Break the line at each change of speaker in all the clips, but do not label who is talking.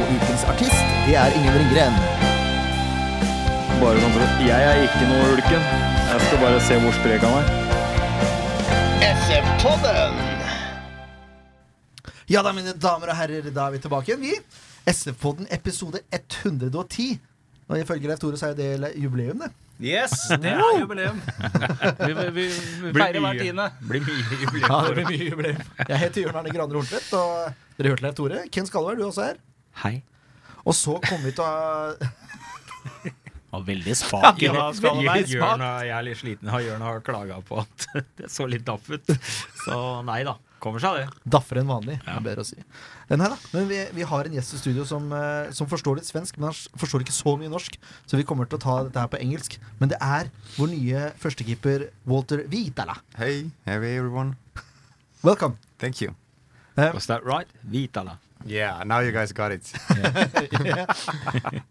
Og ukens artist, det er Ingen Ringgren.
Bare sånn for at Jeg er ikke noe ulken. Jeg skal bare se hvor sprek han er.
Ja da, mine damer og herrer, da er vi tilbake igjen, vi. SF-podden episode 110. Og ifølge Leif Tore så er jo det jubileum, det.
Yes, det er jubileum.
Vi, vi, vi feirer hver tiende.
Blir mye jubileum.
det blir mye jubileum. Jeg heter Jørn Arne Graner Horntvedt, og dere hørte Leif Tore. Ken Skalvær, du er også her.
Hei.
Og så kommer vi til å
Og veldig spak.
Ja, skal det være. Jørn er- jeg er litt sliten. og Jørn har klaga på at det så litt daff ut. Så nei da. Kommer seg det.
daffer enn vanlig. er Bedre å si. Nei da. Men vi, vi har en gjest i studio som, eh, som forstår litt svensk, men han s- forstår ikke så mye norsk. Så vi kommer til å ta dette her på engelsk. Men det er vår nye førstekeeper Walter Vitala.
Hey, hey everyone.
Welcome. Uh,
Thank you.
Was that right? Vitala.
Yeah, now you guys got it.
I,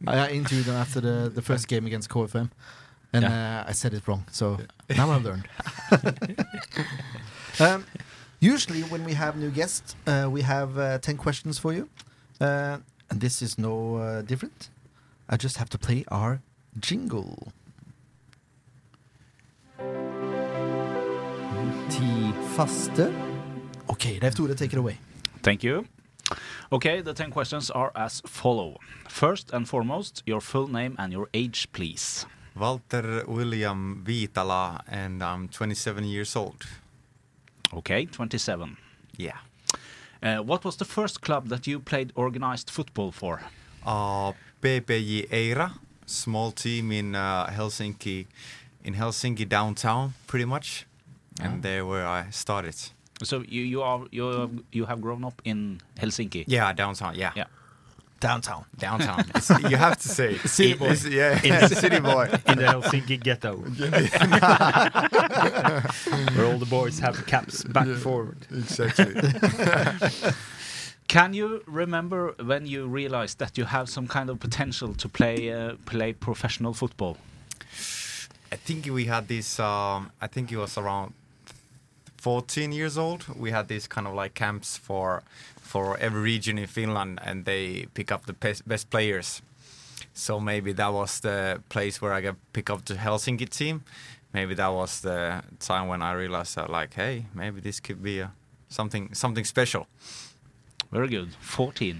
I interviewed him after the, the first game against KFM, and uh, I said it wrong. So now I've learned. um, usually, when we have new guests, uh, we have uh, ten questions for you, uh, and this is no uh, different. I just have to play our jingle.
Ti faste.
Okay, Leif Tore, take it away.
Thank you. Okay, the 10 questions are as follow. First and foremost, your full name and your age, please.
Walter William Vitala, and I'm 27 years old.
Okay, 27.
Yeah.
Uh, what was the first club that you played organized football for?
Uh, PPJ Eira, small team in uh, Helsinki, in Helsinki downtown, pretty much. And there where I started.
So you, you are you have, you have grown up in Helsinki.
Yeah, downtown. Yeah.
Yeah.
Downtown.
Downtown. It's- you have to say it.
City boy.
It's- yeah, city boy.
In the Helsinki ghetto. Where all the boys have caps back forward.
Exactly.
Can you remember when you realized that you have some kind of potential to play uh, play professional football?
I think we had this. Um, I think it was around 14 years old. We had these kind of like camps for for every region in Finland, and they pick up the best, best players. So maybe that was the place where I got pick up the Helsinki team. Maybe that was the time when I realized that, like, hey, maybe this could be a, something something special.
Very good. 14.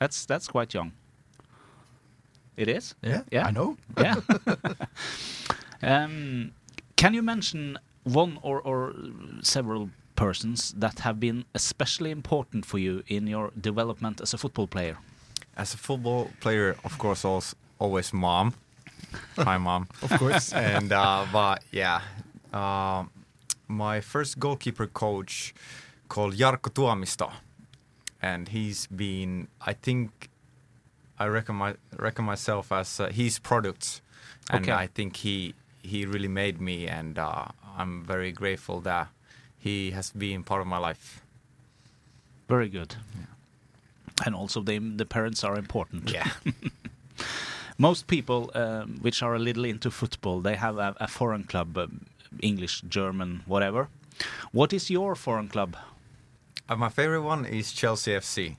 That's that's quite young. It is?
Yeah,
Yeah.
I know.
Yeah. um, can you mention one or, or several persons that have been especially important for you in your development as a football player?
As a football player, of course, als- always mom. Hi, mom. of course. And uh, but yeah, um, my first goalkeeper coach called Jarkko Tuomisto, and he's been. I think I reckon my reckon myself as uh, his product, and
Okay.
I think he he really made me, and uh, I'm very grateful that he has been part of my life.
Very good. And also, the, the parents are important.
Yeah.
Most people um, which are a little into football, they have a, a foreign club, um, English, German, whatever. What is your foreign club?
Uh, my favorite one is Chelsea FC.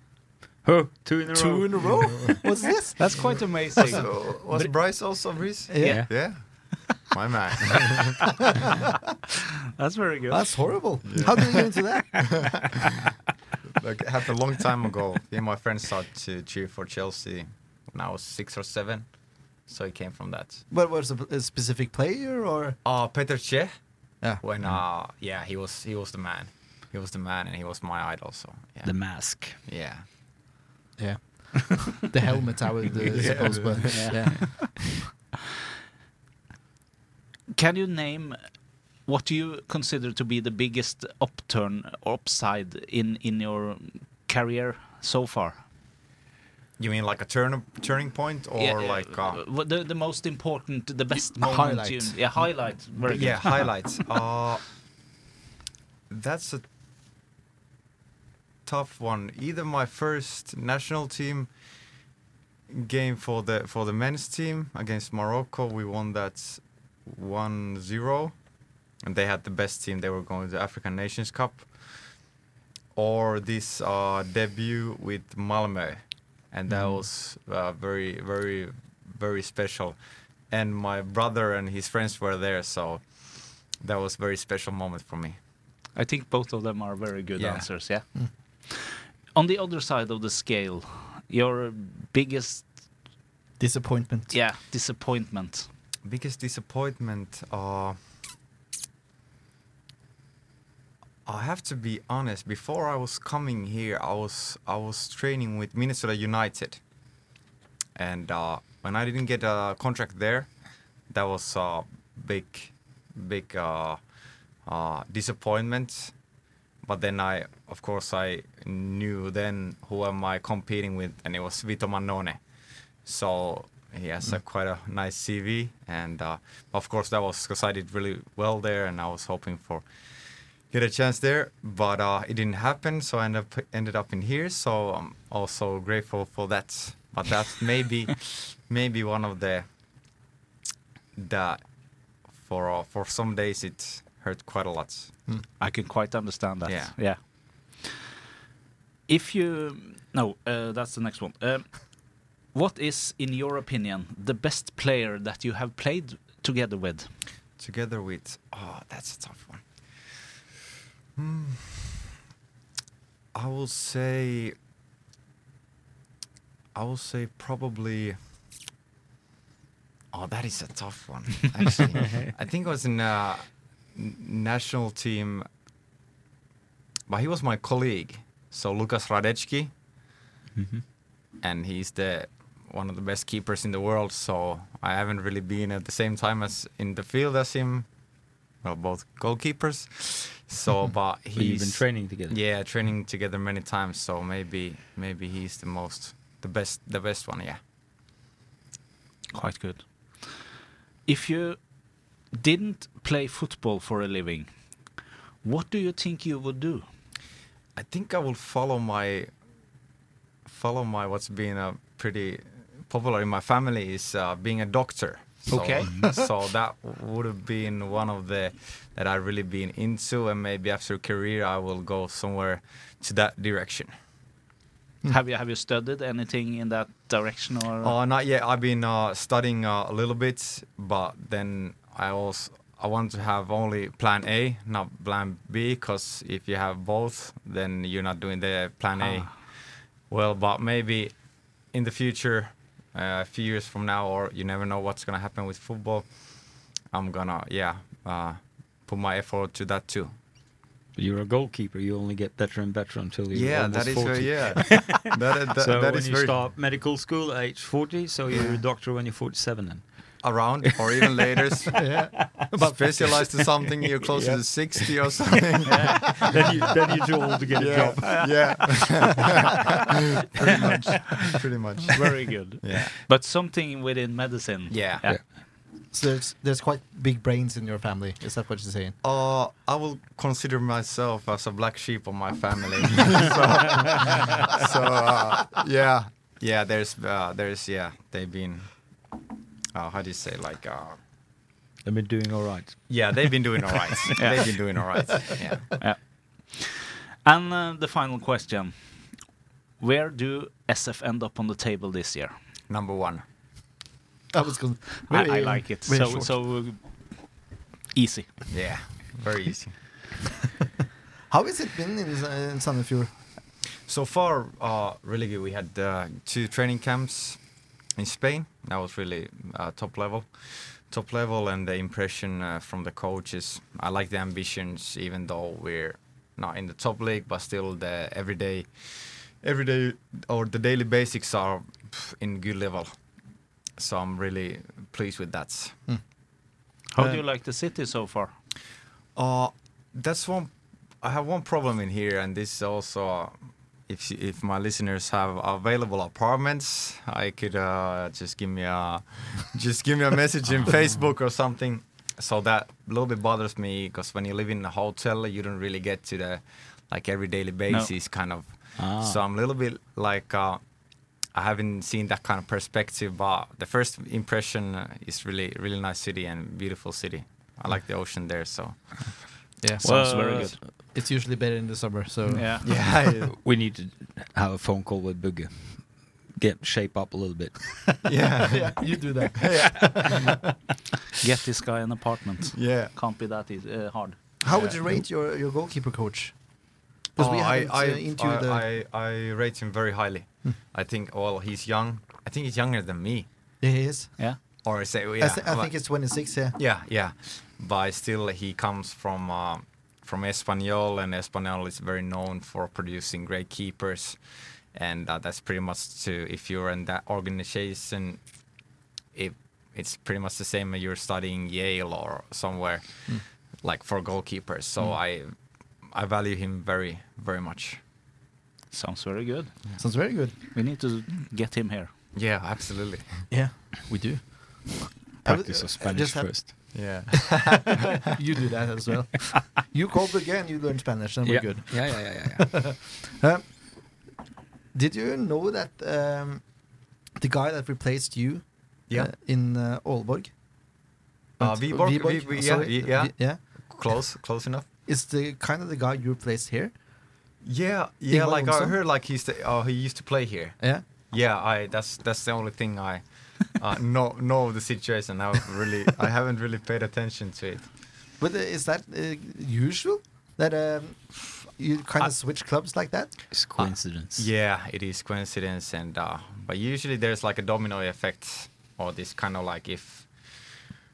Huh, two in a row.
in a row. What's this?
That's quite amazing.
So, was Bryce also Bryce?
yeah,
Yeah. My man.
that's very good.
That's horrible. How did you get into that?
like, it happened a long time ago. Me and my friends started to cheer for Chelsea when I was six or seven. So it came from that.
But was a, a specific player or? Ah,
Uh, Peter Che,
Yeah.
Mm.
when, uh, yeah, he was, he was the man. He was the man and he was my idol. So, yeah.
The mask.
yeah.
Yeah. the helmet, I would uh, suppose, but yeah.
Can you name what you consider to be the biggest upturn or upside in in your career so far?
You mean like a turn turning point or
Yeah,
like
uh,
uh,
what the, the most important, the best moment. you-
highlight.
yeah, highlight. Very
yeah
good.
highlights? uh, that's a tough one. Either my first national team game for the for the men's team against Morocco, we won that 1-0 and they had the best team. They were going to African Nations Cup. Or this uh, debut with Malmö, and that was uh, very, very, very special. And my brother and his friends were there, so that was a very special moment for me.
I think both of them are very good
Yeah.
answers. Yeah. On the other side of the scale, your biggest
Disappointment.
yeah disappointment.
Biggest disappointment. Uh, I have to be honest. Before I was coming here, I was I was training with Minnesota United, and uh, when I didn't get a contract there, that was a big, big uh, uh, disappointment. But then I, of course, I knew then who am I competing with, and it was Vito Manone. So he has a, quite a nice CV, and uh, of course that was because I did really well there, and I was hoping for get a chance there, but uh, it didn't happen. So I ended up ended up in here. So I'm also grateful for that. But that's maybe maybe one of the that for uh, for some days it hurt quite a lot.
I can quite understand that.
Yeah.
Yeah. If you no, uh, that's the next one. Um, what is, in your opinion, the best player that you have played together with?
Together with oh, that's a tough one. Hmm. I will say. I will say probably. Oh, that is a tough one. Actually, I think it was in a national team, but he was my colleague. So Lukas Radecki,
Mm-hmm.
and he's the one of the best keepers in the world. So I haven't really been at the same time as in the field as him. Well, both goalkeepers. So, but he's
Mm-hmm. You've been training together.
yeah, training together many times, so maybe maybe he's the most the best the best one, yeah.
Quite good. If you didn't play football for a living, what do you think you would do?
I think I will follow my follow my what's been a pretty popular in my family is uh, being a doctor. So,
Okay.
so that would have been one of the that I really been into, and maybe after career I will go somewhere to that direction.
Have you have you studied anything in that direction or?
Uh, not yet. I've been uh, studying uh, a little bit, but then I also I want to have only plan A, not plan B, because if you have both, then you're not doing the plan A. Well, but maybe in the future, uh, a few years from now, or you never know what's gonna happen with football. I'm gonna yeah uh, put my effort to that too.
You're a goalkeeper. You only get better and better until you're
yeah,
almost
that is
40.
very, yeah. that, that,
so
that
when
is
you
very
start medical school at age 40, so you're a doctor when you're 47 then.
around or even later s- specialize to something you're closer to 60 or something
then, you, then you're too old to get a job.
yeah pretty much pretty much
Very good.
yeah
But something within medicine.
Yeah.
yeah.
So there's, there's quite big brains in your family. Is that what you're saying?
uh, I will consider myself as a black sheep of my family. so so, uh, yeah, yeah. There's, uh, there's, yeah. They've been, uh, how do you say, like, uh,
I've been doing all right.
yeah, they've been doing all right. They've been doing all right. Yeah.
And uh, the final question: Where do SF end up on the table this year?
Number one.
I was going.
I, I like it.
very
So
short.
so uh, easy.
Yeah. Very easy.
How has it been in, uh, in Sandefjord?
So far, uh, really good. We had uh, two training camps in Spain. That was really uh, top level, top level, and the impression uh, from the coaches. I like the ambitions, even though we're not in the top league, but still the everyday, everyday or the daily basics are pff, in good level. So I'm really pleased with that.
How do you like the city so far?
Uh, that's one. I have one problem in here, and this is also if you- if my listeners have available apartments, I could uh, just give me a just give me a message in Facebook or something. So that a little bit bothers me because when you live in a hotel, you don't really get to the like every daily basis kind of.
Ah.
So I'm a little bit like uh, I haven't seen that kind of perspective. But the first impression uh, is really really nice city and beautiful city. I like the ocean there. So
Yeah.
Sounds very good.
It's usually better in the summer, so
Yeah.
yeah,
We need to have a phone call with Bugge. Get shape up a little bit.
yeah,
yeah, you do that.
Get this guy an apartment.
yeah.
Can't be that easy, uh, hard.
How would
Yeah.
you rate your, your goalkeeper coach? Because we
Oh,
haven't uh, interviewed the. Hmm.
I, I, I rate him very highly. I think, well, he's young. I think he's younger than me.
yeah, he is.
Yeah.
Or is it,
I,
yeah,
thi- I
but-
think it's 26, yeah.
yeah, yeah. But still, he comes from uh, from Espanyol, and Espanyol is very known for producing great keepers. And uh, that's pretty much to if you're in that organization, it it's pretty much the same as you're studying Yale or somewhere,
Hmm.
like for goalkeepers. So
Mm.
I I value him very very much.
Sounds very good.
Sounds very good.
We need to get him here.
Yeah, absolutely.
Yeah.
We do.
I would-
Practice
uh,
of
just
Spanish
have-
first.
Yeah.
you do that as well. You called again, you learned Spanish, and we're
yeah.
good.
Yeah, yeah, yeah, yeah. yeah.
Um, did you know that um, the guy that replaced you
Yeah.
uh, in uh, Aalborg?
Uh,
At-
Viborg,
Viborg,
Vi- Vi-
oh,
yeah,
sorry,
Vi- yeah.
Vi- yeah.
close, close enough.
Is the kind of the guy you replaced here?
Yeah, yeah.
Ingvar
like I
Olsson?
heard, like he's the, oh, he used to play here.
Yeah.
Yeah, I. That's that's the only thing I uh, know know of the situation. I really, I haven't really paid attention to it.
But uh, is that uh, usual that um, you kind of switch clubs like that?
It's coincidence.
Yeah, it is coincidence, and uh, but usually there's like a domino effect, or this kind of like if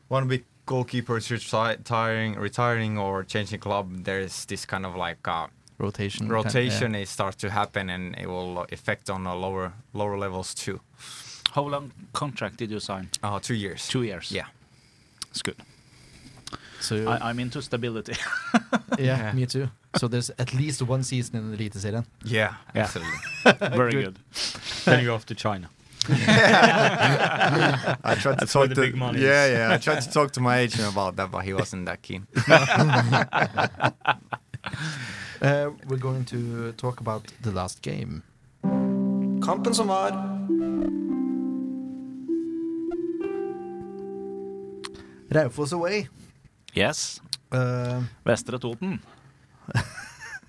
one big goalkeeper is reti- retiring, retiring or changing club, there's this kind of like. Uh,
Mm,
Rotation.
rotation it starts to happen and it will affect on the lower lower levels too
How long contract did you sign?
uh two years
Two years.
yeah
it's good.
So
I, I'm into stability.
yeah,
Yeah.
me too. So there's at least one season in Eliteserien.
yeah
Yeah.
absolutely
very good.
Then you're off to China.
i tried to
That's where
talk
the
to
big money is.
yeah yeah i tried to talk to my agent about that but he wasn't that keen
Uh, we're going to talk about the last game. Kampen som var. Raufoss away.
Yes.
Uh,
Vestre Toten.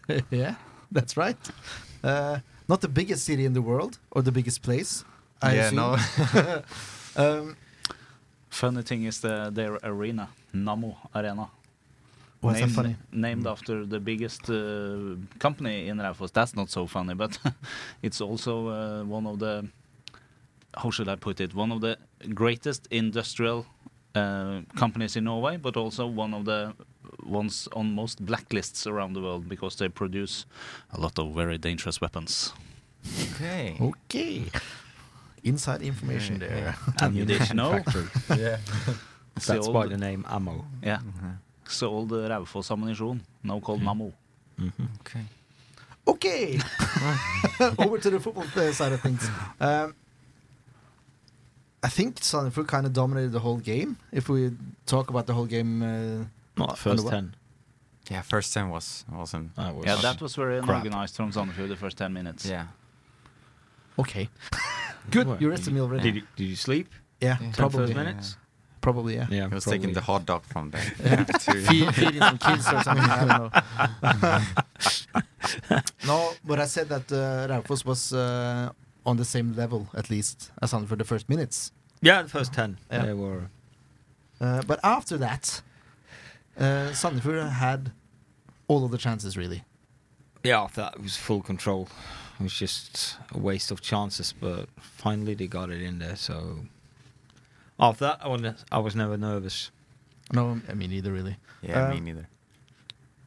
yeah, that's right. Uh, not the biggest city in the world or the biggest place. I
yeah
assume.
no
Um,
Funny thing is the, their arena, Nammo Arena.
why is that
named,
funny? Hmm.
Named after the biggest uh, company in Raufoss. That's not so funny, but it's also uh, one of the, how should I put it, one of the greatest industrial uh, companies in Norway, but also one of the ones on most blacklists around the world because they produce a lot of very dangerous weapons.
okay
Oh.
Okay. Inside information there.
And you didn't know?
Factory.
yeah
It's the
That's
old-
why the name Ammo.
Yeah. Så old Raufoss ammunisjon, now called
Mm.
Nammo. Mm-hmm.
okay
Okay. Over to the football uh, side of things. Um, I think Sandefjord kind of dominated the whole game. If we talk about the whole game, uh,
Not first
what?
ten.
yeah first time was wasn't
I was.
Yeah, that was very
Crap.
unorganized from Sandefjord the first 10 minutes.
yeah
okay. Good.
Well,
You rested me already.
Did you, did you sleep?
yeah,
Yeah.
probably.
First minutes.
Probably, yeah.
Yeah,
he was
probably.
taking the hot dog from there
Feed- feeding some kids or something. I don't know. no, but I said that uh, Raufoss was uh, on the same level, at least, as Sandefjord the first minutes.
Yeah, the first ten.
Yeah.
They were.
Uh, but after that, uh, Sandefjord had all of the chances, really.
Yeah, that was full control. It was just a waste of chances, but finally they got it in there. So after that, I was I was never nervous.
No, I mean, neither really.
yeah me
Um,
neither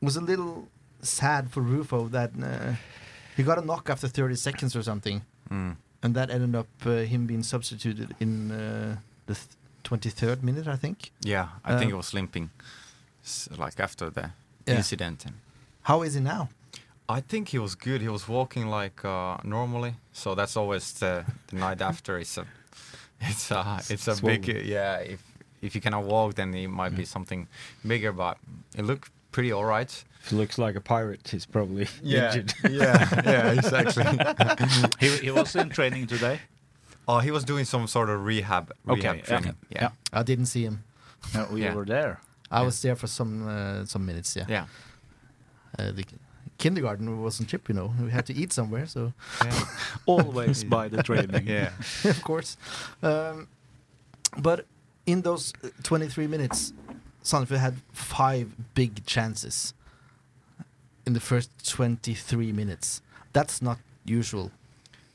was a little sad for Rufo that uh, he got a knock after 30 seconds or something,
mm.
and that ended up uh, him being substituted in uh, the th- 23rd minute, I think.
yeah i think
uh,
it was limping S like after the
Yeah.
incident and
How is he now?
I think he was good. He was walking like uh, normally, so that's always the, the night after. It's a, it's a, it's a big
swollen.
yeah. If if you cannot walk, then it might be something bigger. But it looked pretty all right.
If he looks like a pirate, he's probably injured.
yeah, yeah, exactly.
He, he was in training today.
Oh, he was doing some sort of rehab. rehab
yeah.
training.
Yeah.
I didn't see him.
No, we
Yeah.
were there.
I was there for some uh, some minutes. Yeah.
yeah.
Uh, the ki- kindergarten wasn't cheap, you know. We had to eat somewhere, so
yeah.
Always by the training.
yeah.
of course. Um, but in those uh, 23 minutes, Sandefjord had five big chances in the first 23 minutes. That's not usual.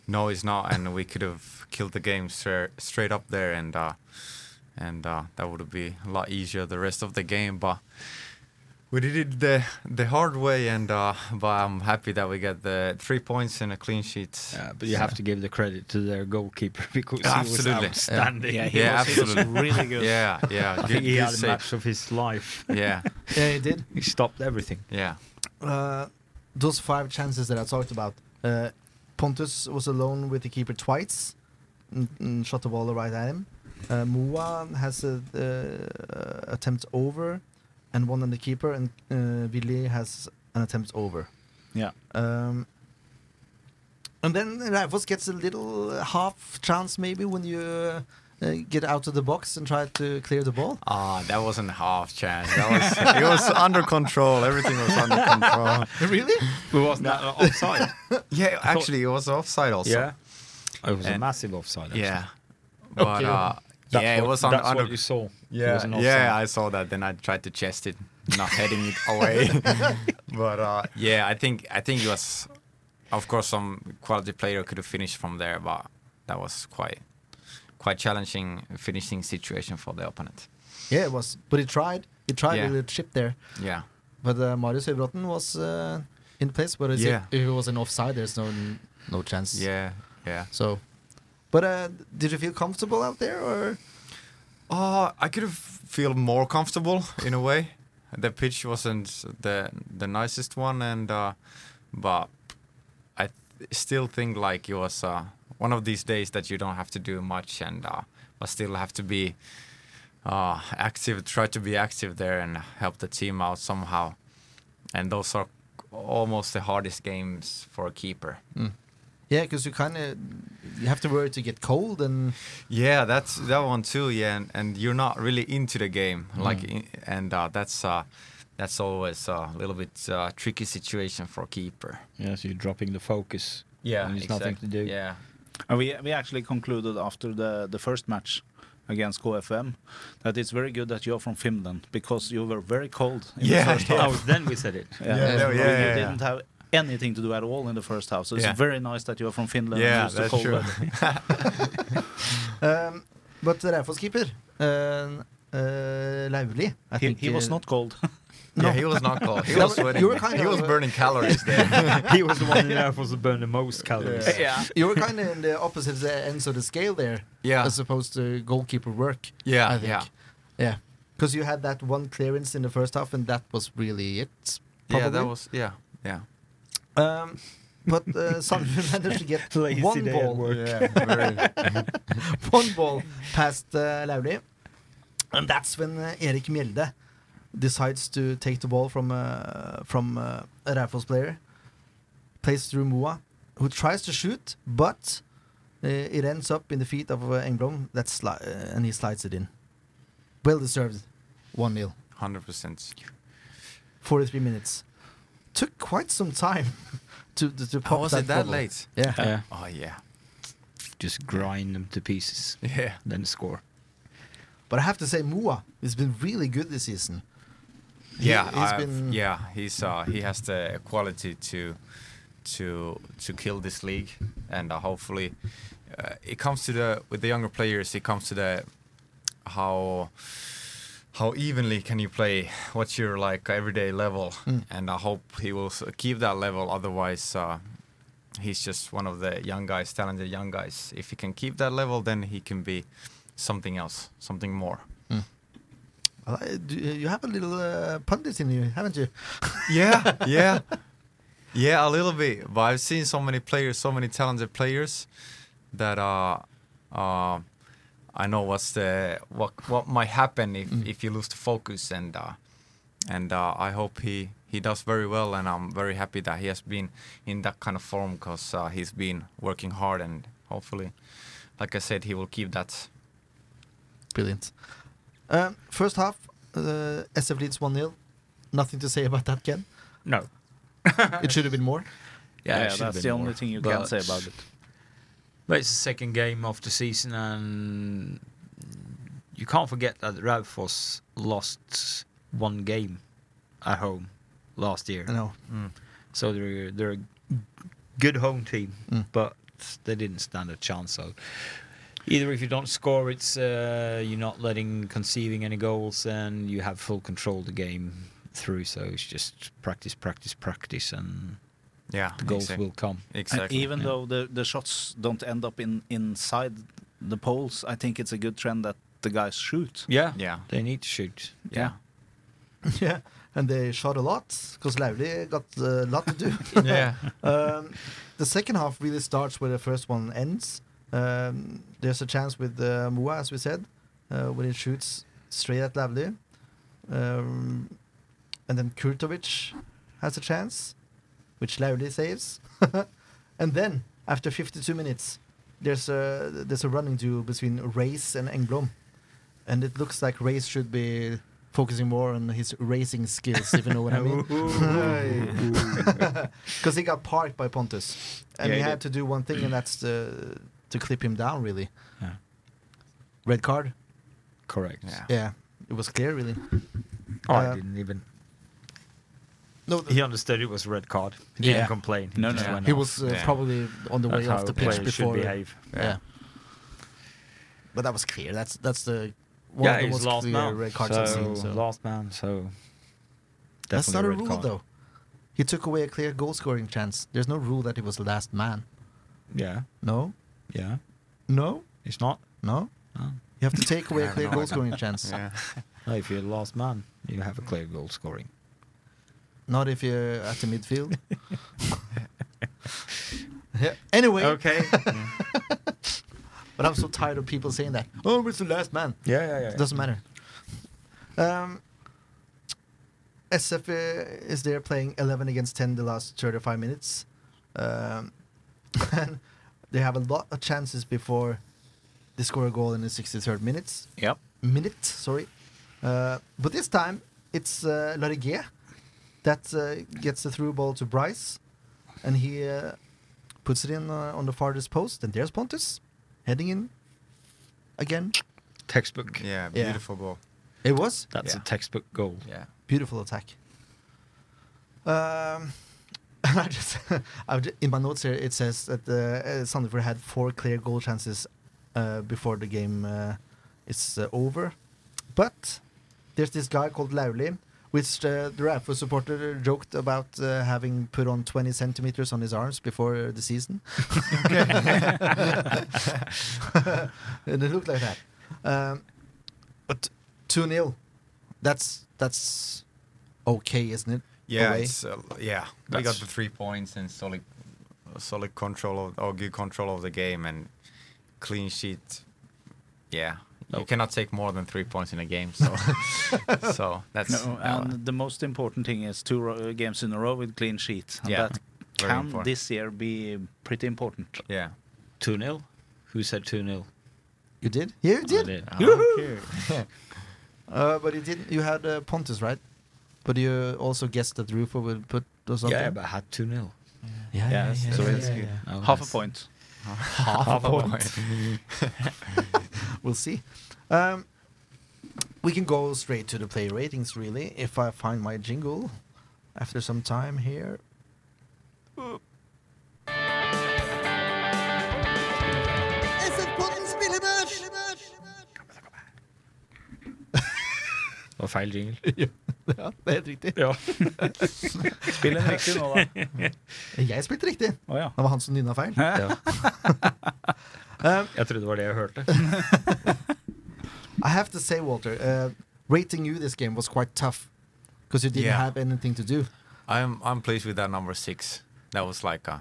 No, it's not, and we could have killed the game stra- straight up there, and uh, and uh, that would be a lot easier the rest of the game. But we did it the the hard way, and uh, but I'm happy that we got the three points and a clean sheet.
Uh, but you have to give the credit to their goalkeeper because he
Absolutely.
was outstanding.
Yeah, he
Yeah,
was, he was
absolutely.
really good.
Yeah, yeah,
I
good,
think he
good
had a
save.
match of his life.
Yeah,
Yeah, it did.
He stopped everything.
yeah,
Uh, those five chances that I talked about. Uh, Pontus was alone with the keeper twice, and, and shot the ball right at him. Uh, Mua has a uh, attempt over, and one on the keeper, and uh, Willi has an attempt over.
Yeah.
Um, and then Raufoss gets a little uh, half chance maybe when you uh, uh, get out of the box and try to clear the ball.
ah, that wasn't half chance. That was it was under control. Everything was under control.
really?
was that offside?
Yeah, actually, it was offside also.
yeah. It was a
And-
massive offside. actually.
yeah, but
Okay.
uh,
That's
yeah,
what,
it was on
that's
under.
what you saw. It was
Yeah,
an
yeah,
offside.
I saw that. Then I tried to chest it, not heading it away. but uh, yeah, I think I think it was, of course, some quality player could have finished from there, but that was quite quite challenging finishing situation for the opponent.
Yeah, it was. But he tried. He tried
Yeah.
with a chip there.
Yeah,
But uh, Marius Høybråten was uh, in place. But it's-
Yeah.
if it was an offside, there's no no chance.
yeah, yeah.
So, but uh, did you feel comfortable out there, or
Uh, I could have feel more comfortable in a way. The pitch wasn't the the nicest one, and uh, but I th- still think like it was uh, one of these days that you don't have to do much, and uh, but still have to be uh, active, try to be active there and help the team out somehow. And those are almost the hardest games for a keeper.
yeah, because you kind of you have to worry to get cold and
Yeah, that's that one too. Yeah, and, and you're not really into the game, like, in, and uh, that's uh, that's always uh, a little bit uh, tricky situation for a keeper.
Yeah, so you're dropping the focus. And there's nothing to do.
Yeah,
And we we actually concluded after the the first match against KFM that it's very good that you're from Finland because you were very cold in the
Yeah,
first
yeah.
half.
Oh, then we said it.
Yeah,
Yeah,
no,
You
yeah, yeah, yeah.
didn't have anything to do at all in the first half. So it's
Yeah.
very nice that you're from Finland.
Yeah,
and used to
that's
cold
true.
weather.
um, But Raufoss keeper uh, uh, Lauli, I
He,
think
he was
uh,
not cold.
yeah. He was not cold. He
No,
was sweating.
you were kind
he
of-
was burning calories there.
he was the one who was to burn the most calories.
Yeah.
You were kind of in the opposite uh, ends of the scale there,
yeah,
as opposed to goalkeeper work. I
yeah,
think.
yeah.
yeah. Because you had that one clearance in the first half, and that was really it.
Yeah, that
probably.
was yeah, yeah.
Um, but uh, Sandefjord managed to get
Lazy
one
day at
ball,
work.
Yeah, very,
one ball past uh, Lauli, and that's when uh, Erik Mjelde decides to take the ball from uh, from uh, a Raufoss player, plays through Moa, who tries to shoot, but uh, it ends up in the feet of uh, Engblom. That's sli- uh, and he slides it in. Well deserved, one 0
hundred percent.
43 minutes. Took quite some time to to, to pop
Oh, was it that
bubble.
late?
Yeah.
Yeah.
Oh yeah,
Just grind them to pieces,
yeah.
then score.
But I have to say, Mua has been really good this season.
Yeah,
he's
I've-
been-
yeah, he's uh, he has the quality to to to kill this league, and uh, hopefully, uh, it comes to the with the younger players. It comes to the how how evenly can you play? What's your like everyday level?
Mm.
And I hope he will s- keep that level. Otherwise, uh, he's just one of the young guys, talented young guys. If he can keep that level, then he can be something else, something more.
Hmm. Well, uh, I- do- You have a little uh, pundit in you, haven't you?
Yeah, yeah. Yeah, a little bit. But I've seen so many players, so many talented players, that uh, uh, I know what's the what what might happen if, if you lose the focus, and uh, and uh, I hope he he does very well, and I'm very happy that he has been in that kind of form because uh, he's been working hard, and hopefully, like I said, he will keep that.
Brilliant. Um, first half, uh, SF leads 1 0. Nothing to say about that, Ken.
No.
It should have been more.
Yeah,
it
yeah,
should've
that's
been
the
more,
only thing you can
but-
say about it.
But it's the second game of the season, and you can't forget that Raufoss lost one game at home last year.
No.
So they're they're a good home team,
Mm.
but they didn't stand a chance. So either if you don't score, it's uh, you're not letting conceiving any goals, and you have full control of the game through. So it's just practice, practice, practice, and
Yeah,
the goals
exac-
will come.
And
exactly.
even though the, the shots don't end up in inside the poles, I think it's a good trend that the guys shoot.
Yeah,
yeah,
they need to shoot.
Yeah.
yeah. And they shot a lot because Lauli got uh, a lot to do.
yeah,
um, the second half really starts where the first one ends. Um, there's a chance with uh, Moa, as we said, uh, when he shoots straight at Lavli. Um, and then Kurtovic has a chance, which Lavli saves. and then, after 52 minutes, there's a, there's a running duel between Race and Engblom. And it looks like Race should be focusing more on his racing skills, if you know what I mean. Because he got parked by Pontus, and
Yeah,
he
he
had to do one thing, and that's to, to clip him down. Really,
Yeah.
red card.
Correct.
yeah.
Yeah, it was clear. Really,
Oh,
Uh,
I didn't even.
no,
He understood it was red card. He didn't
Yeah.
complain.
No,
just
no,
went
he
off.
was uh,
Yeah.
probably on the
That's
way
how
off the
a
pitch
player
before.
should behave.
Yeah. but that was clear. That's that's the one
yeah,
of the
he's
most
last
clear
man.
red cards
so,
I've seen. So
last man. So
that's
definitely
not a
red
rule
card.
though. He took away a clear goal scoring chance. There's no rule that he was the last man.
Yeah,
No,
yeah.
no,
It's not.
no.
No.
You have to take away a
Yeah,
clear
no, I
goal
know.
scoring chance.
yeah.
No, if you're the last man, you have a clear goal scoring.
Not if you're at the midfield. yeah. Anyway,
Okay.
but I'm so tired of people saying that. Oh, it's the last man.
yeah, yeah, yeah.
It doesn't matter. Um, SF uh, is there playing 11 against 10 the last 35 minutes. Um, and they have a lot of chances before they score a goal in the 63rd minutes.
Yep.
minute, sorry. Uh, but this time it's uh, Lariguet that uh, gets the through ball to Bryce, and he uh, puts it in uh, on the farthest post. And there's Pontus heading in again.
Textbook.
Yeah,
Yeah.
beautiful goal.
It was
That's
Yeah.
a textbook goal.
Yeah.
beautiful attack. Um, and I just, I've ju- in my notes here, it says that uh, uh, Sandefjord had four clear goal chances uh, before the game uh, is uh, over. But there's this guy called Lauli, which uh, the Rafa supporter joked about uh, having put on 20 centimeters on his arms before uh, the season. and it looked like that. Um, but 2 0, that's, that's okay, isn't it?
Yeah,
away?
it's, uh, yeah. we got the three points and solid, solid control of or good control of the game and clean sheet. Yeah, you cannot take more than three points in a game, so so that's
No,
uh,
and the most important thing is two ro- uh, games in a row with clean sheet. And
Yeah,
that
very
can
important.
this year be pretty important.
yeah.
2 0. Who said 2 0?
You did? Yeah, you did. Uh, but you didn't. You had uh, Pontus, right? But you also guessed that Rufo would put or something.
Yeah, but I had 2 0.
yeah, yeah,
that's-
yeah,
so
yeah,
it's
yeah,
good.
yeah.
Oh,
Half a point.
Half a point. we'll see. Um, we can go straight to the play ratings, really, if I find my jingle after some time here.
Og feil jingle.
ja, det er helt riktig.
Ja.
Spiller den riktig nå, da?
Jeg spilte riktig.
Å ja.
Det var han som nynna feil. Um,
Jeg trodde det var det jeg hørte.
I have to say, Walter, uh, rating you this game was quite tough because you didn't
Yeah.
have anything to do.
I'm I'm pleased with that number six. That was like a,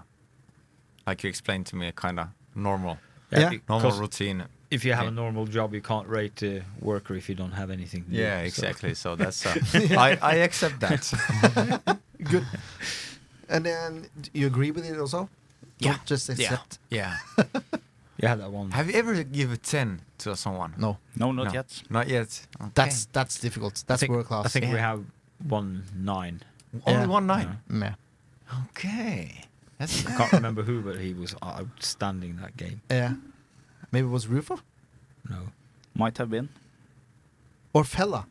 like you explained to me, a kind of normal
Yeah.
be-
normal
'cause
routine.
if you have
Yeah.
a normal job, you can't rate a worker if you don't have anything. to do,
Yeah,
so.
exactly. So that's uh, I I accept that.
Good. And then you agree with it also?
Yeah.
Don't just accept.
yeah.
You had that one.
Mm. Have you ever given ten to someone?
No,
No, not
No.
yet.
Not yet. Okay.
that's that's difficult. That's
think-
world class.
I think we have one nine.
only
yeah.
one nine.
Yeah.
Okay. That's
I can't remember who, but he was outstanding that game.
yeah. Maybe it was Rufo
No,
Might have been.
or Fella.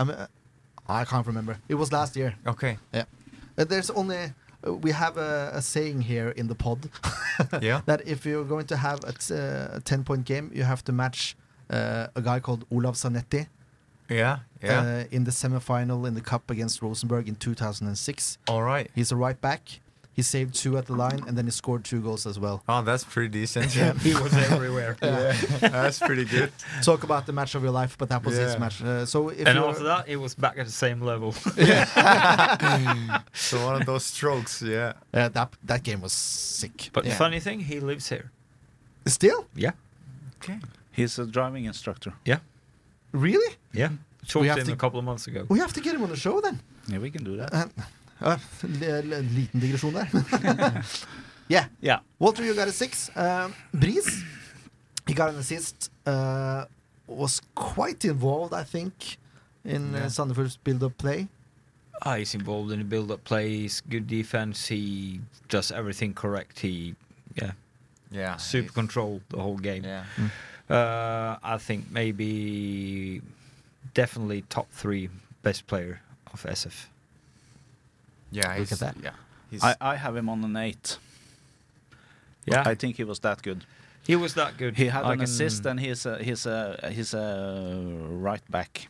I mean, uh, I can't remember. It was last year.
okay.
Yeah. Uh, there's only uh, we have a, a saying here in the pod
Yeah.
that if you're going to have a, t- uh, a ten point game, you have to match uh, a guy called Olav Zanetti
Yeah. Yeah.
uh, in the semifinal in the cup against Rosenborg in 2006.
All Oh, right.
Uh, He's a right back. He saved two at the line and then he scored two goals as well.
Oh, that's pretty decent.
he was everywhere.
that's pretty good.
Talk about the match of your life, but that was his
Yeah.
match. Uh, so if
And
you're-
after that, it was back at the same level.
So one of those strokes. Yeah.
Uh, that that game was sick.
But
Yeah.
funny thing, he lives here.
Still,
Yeah,
Okay.
He's a driving instructor.
yeah,
really,
yeah. Hmm. Talked
We
to
have
him
to-
a couple of months ago.
we have to get him on the show then.
Yeah, we can do that.
Uh, uh, l- l- liten digresjon der. yeah.
Yeah.
Walter, you got a six. Um, Breeze, he got an assist. Uh, was quite involved, I think, in uh,
Yeah.
Sandefjord's build-up play.
Ah, he's involved in the build-up plays, good defense. He does everything correct. He, yeah,
Yeah.
super control the whole game.
Yeah.
Mm.
Uh, I think maybe definitely top three best player of SF.
Yeah.
Look
he's-
at that.
Yeah. He's,
I, I have him on an eight.
Yeah,
I think he was that good.
he was that good.
He had
I
an
can-
assist, and he's a he's a he's a right back.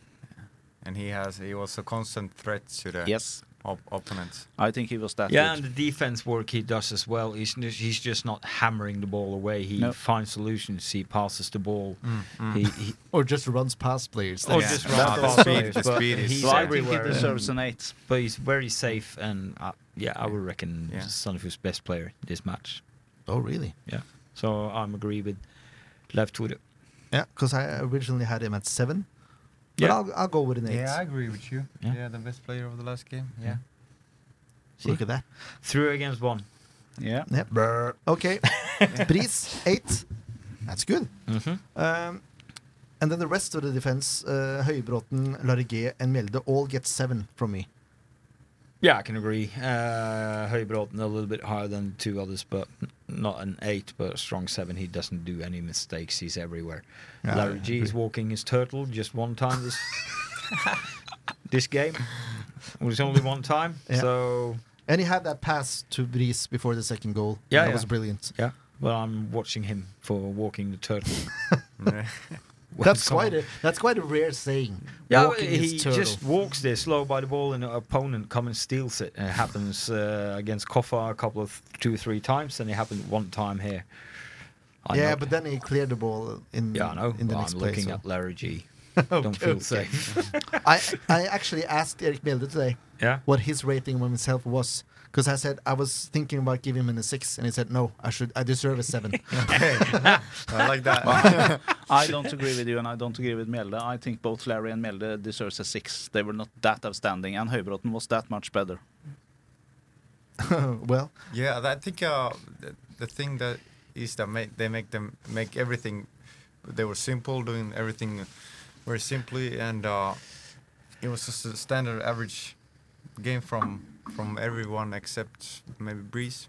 and he has he was a constant threat to the
Yes,
op- opponents.
I think he was that
Yeah, and
good.
the defense work he does as well. He's n- he's just not hammering the ball away. He
No.
finds solutions. He passes the ball.
Mm,
He, he
Or just runs past players.
or
Yeah.
just
No,
runs
the
past
speed-
players,
the
but
speed is
he's
So I think he
everywhere, and-
deserves an eight.
but he's very safe, and uh, yeah, I would reckon
Yeah.
Sandefjord's best player this match.
Oh, really?
Yeah, so I'm agree with left with it.
Yeah, because I originally had him at seven. But
Yeah.
I'll, I'll go with an eight.
agree with you.
Yeah.
the best player of the last game.
Yeah. See?
Look at that.
Three against one.
Yeah,
Yep. Okay. Breeze, eight. That's good.
Mm-hmm.
Um, and then the rest of the defense, uh, Høybråten, Largué, and Mjelde, all get seven from me.
Yeah, I can agree. Uh, Høybråten a little bit higher than two others, but n- not an eight, but a strong seven. He doesn't do any mistakes. He's everywhere.
Yeah,
Larry
I
G is walking his turtle just one time this this game. It was only one time,
Yeah.
so
And he had that pass to Breeze before the second goal.
Yeah,
that
yeah.
was brilliant.
yeah. Well, I'm watching him for walking the turtle.
Yeah.
When
that's
someone-
quite a that's quite a rare saying.
Yeah,
walking
he
his turtle.
just walks there slow by the ball, and the opponent comes and steals it. And it happens uh, against Koffa a couple of two or three times, and it happened one time here. I
yeah,
know-
but then he cleared the ball in
yeah, I know.
in the
but
next
I'm
play.
looking
so-
at Larry G.
Okay,
Don't feel
okay.
safe.
I I actually asked Erik Mjelde today
yeah,
what his rating of himself was because I said I was thinking about giving him a six, and he said no, I should I deserve a seven.
I like that.
I don't agree with you, and I don't agree with Mjelde. I think both Larry and Mjelde deserves a six. They were not that outstanding, and Høybråten was that much better.
well,
Yeah, I think uh, the, the thing that is that make, they make them make everything. They were simple, doing everything very simply, and uh, it was just a standard average game from from everyone except maybe Breeze.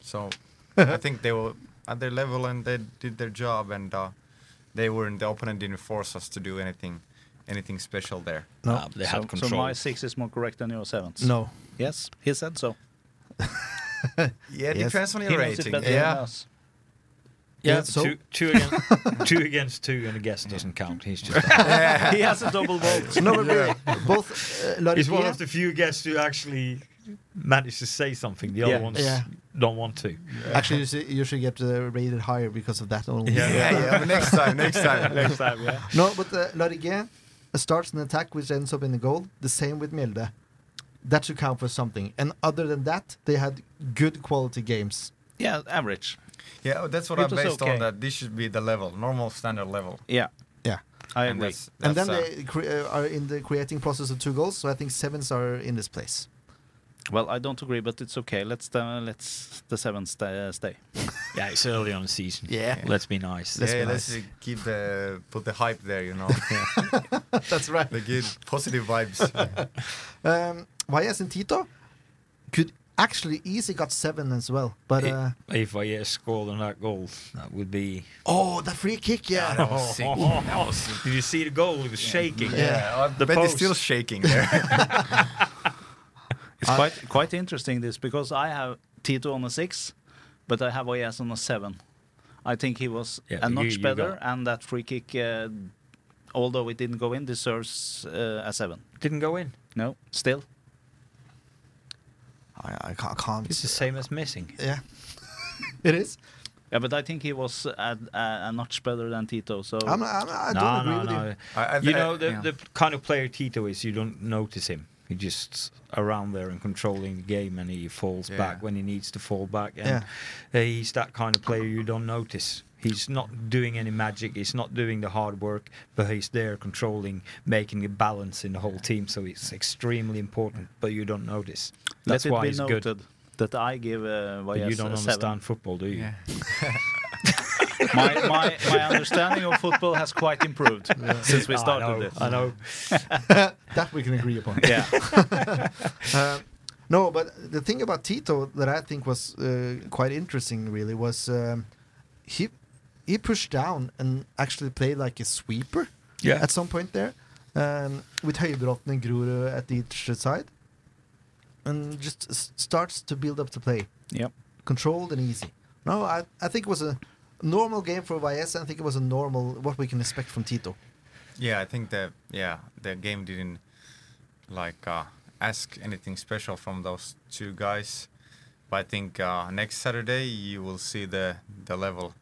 So I think they were at their level and they did their job, and uh, they weren't. The opponent didn't force us to do anything anything special there.
no,
Nah, Ah, they
so,
have
so
control.
my six is more correct than your seven.
no.
Yes, he said so.
Yeah, it
Yes.
depends on your
He knows it
rating.
better than
Yeah,
us.
Yeah,
yeah,
so-
two, two, against, two against two, and a guess doesn't count. He's just
he has a double vote.
No, but really, both uh,
he's one of
Largué,
the few guests who actually managed to say something. The other
Yeah.
ones
Yeah.
don't want to.
actually you should, you should get uh, rated higher because of that only.
Yeah.
yeah, yeah. but next time, next time.
Next time, yeah.
No, but uh, Largué starts an attack which ends up in a goal. The same with Mjelde. that should count for something. And other than that, they had good quality games.
Yeah, average.
Yeah, that's what
It
I
was
based
okay.
on. That this should be the level, normal standard level.
Yeah,
Yeah.
I
And
agree.
that's-
And then
that's, uh,
they cre- uh, are in the creating process of two goals, so I think sevens are in this place.
Well, I don't agree, but it's okay. Let's uh, let's the seven stay. Uh, stay.
Yeah, it's early on the season.
Yeah.
Let's be nice.
yeah,
be
let's
nice.
uh, keep the put the hype there. You know,
That's right.
the good positive vibes.
Um, Valles and Tito could actually easily got seven as well, but uh,
If I uh, scored on that goal, that would be.
oh, the free kick, yeah.
that was sick. That was sick.
Did you see the goal? It was shaking.
Yeah,
The
but it's
post.
still shaking there.
It's quite quite interesting this because I have Tito on a six, but I have Oyas on a seven. I think he was
Yeah,
a
you-
notch
you
better,
got-
and that free kick, uh, although it didn't go in, deserves uh, a seven.
Didn't go in.
No, still.
I, I can't. can't-
It's the same as missing.
Yeah, it is.
Yeah, but I think he was a, a, a notch better than Tito. So
I'm, I'm, I don't
no,
agree
no,
with
no.
you.
I- I-
you know the,
yeah.
the kind of player Tito is. You don't notice him. He just around there and controlling the game, and he falls
Yeah.
back when he needs to fall back. And uh, he's that kind of player you don't notice. He's not doing any magic. He's not doing the hard work, but he's there controlling, making a balance in the whole team. So it's extremely important, but you don't notice.
let
That's
it
why
be
he's
noted
good.
that I give uh,
But
Valles
you don't
a
understand
seven.
football, do you?
Yeah.
my, my my understanding of football has quite improved since we
Oh, I
started
know,
this.
I know.
That we can agree upon.
Yeah.
Um, no, but the thing about Tito that I think was uh, quite interesting, really, was um, he he pushed down and actually played like a sweeper
Yeah.
at some point there, um, with Høybråten and Grorud at each side, and just s- starts to build up the play,
Yep.
controlled and easy. No, I, I think it was a normal game for Valles, and I think it was a normal what we can expect from Tito.
Yeah, I think that yeah the game didn't like uh, ask anything special from those two guys, but I think uh, next Saturday you will see the the level.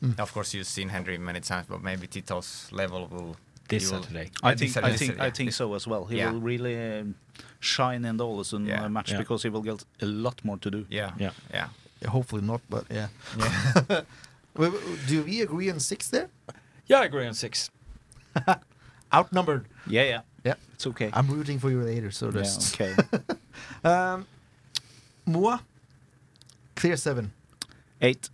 Hmm.
Of course, you've seen Henry many times, but maybe Tito's level will
This
you will-
Saturday.
I think
Yeah, this
I
Saturday,
think I
Saturday.
think so as well. He
Yeah.
will really um, shine in the Ålesund
Yeah.
uh, match
Yeah.
because he will get a lot more to do.
Yeah,
Yeah.
yeah.
Yeah, hopefully not, but yeah. Well, Do we agree on six there?
Yeah, I agree on six.
Outnumbered.
Yeah, yeah,
Yeah.
It's okay.
I'm rooting for you later, so
yeah,
just
okay.
um, Moa, clear seven.
Eight.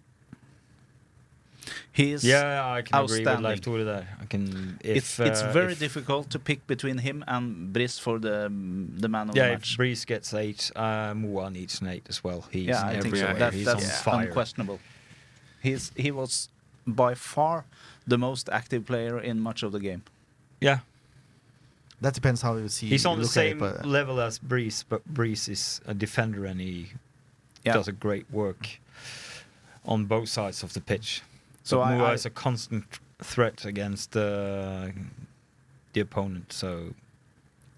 He is.
Yeah, I can agree with
outstanding.
Leif Tore there. I can. If,
It's it's
uh,
very
if-
difficult to pick between him and Brice for the um, the man of
Yeah,
the
if
match.
Breeze gets eight, um, Mua needs an eight as well. He's
yeah,
in
I think
every
so.
way.
That,
He's on
that's
fire.
unquestionable. He's he was by far the most active player in much of the game.
yeah,
That depends how you see.
he's on the
look at it,
same
but-
level as Breeze, but Breeze is a defender and he
Yeah.
does a great work on both sides of the pitch.
So
So
I-
Mua
I-
is a constant threat against uh, the opponent. So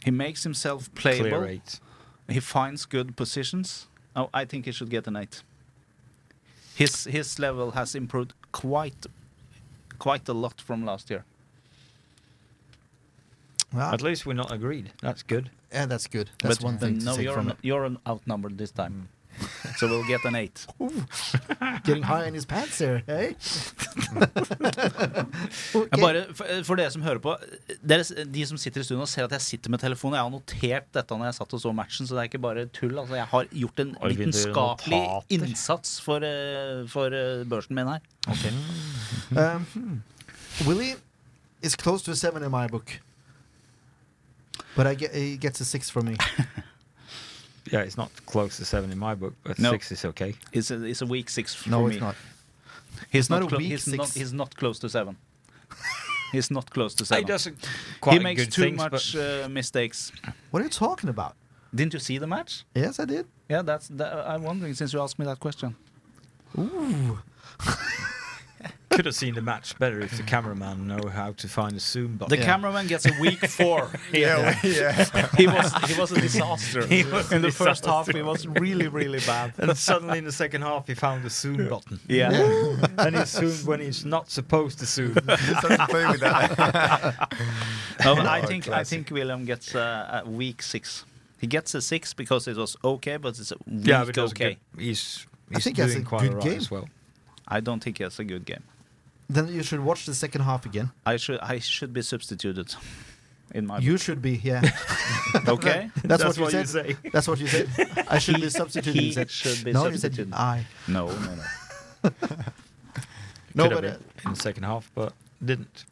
He makes himself
clear
playable.
eight.
He finds good positions. Oh, I think he should get an eight. His his level has improved quite quite a lot from last year. Ah.
Well,
At least we're not agreed. That's good.
yeah, that's good. That's
but
one thing
no,
to take
you're
from Mm.
an, you're an outnumbered this time, so we'll get an eight.
it. Getting high in his pants there, eh?
Jeg
Um,
okay.
Bare for, for dere som hører på, dere, s- de som sitter i studio og ser at jeg sitter med telefonen Jeg har notert dette når jeg satt og så matchen, så det er ikke bare tull. Altså, jeg har gjort en
Oi, begynte å gjøre
vitenskapelig
notater.
innsats for, eh, for eh, børsen min her.
Um, Willie is close to a seven in my book, but I get he gets a six from me.
Yeah, it's not close to seven in my book, but
No.
six is okay.
It's a, it's a weak six for
no,
me.
it's not.
He's
not
not,
a
clo-
weak
he's,
six.
Not, he's not close to seven. he's not close to seven.
He does a- quite
He makes
good
too
things,
much
but
uh, mistakes.
What are you talking about?
Didn't you see the match?
Yes, I did.
Yeah, that's. That, I'm wondering since you asked me that question.
could have seen the match better if the cameraman know how to find a zoom
The
button.
cameraman gets a weak four.
Yeah, yeah.
he was he was a disaster. in the first half, he was really really bad.
and suddenly in the second half, he found the zoom button.
Yeah.
and he zoomed when he's not supposed to zoom.
Start playing with that.
No, but I
No,
think I
classic.
think William gets a, a weak six. He gets a six because it was okay, but it's a weak
Yeah, but it was
okay.
good. he's
I
he's
think that's
doing
a
quite
good
alright
game.
as well.
I don't think it's a good game.
Then you should watch the second half again.
I should I should be substituted. In my
You should be, yeah.
okay.
That's, what, you said. That's what you said. I should be substituted.
he
you said.
should be
no, you
substituted.
said I.
No, no, no.
No,
Could
but
have
uh,
been in the second half, but didn't.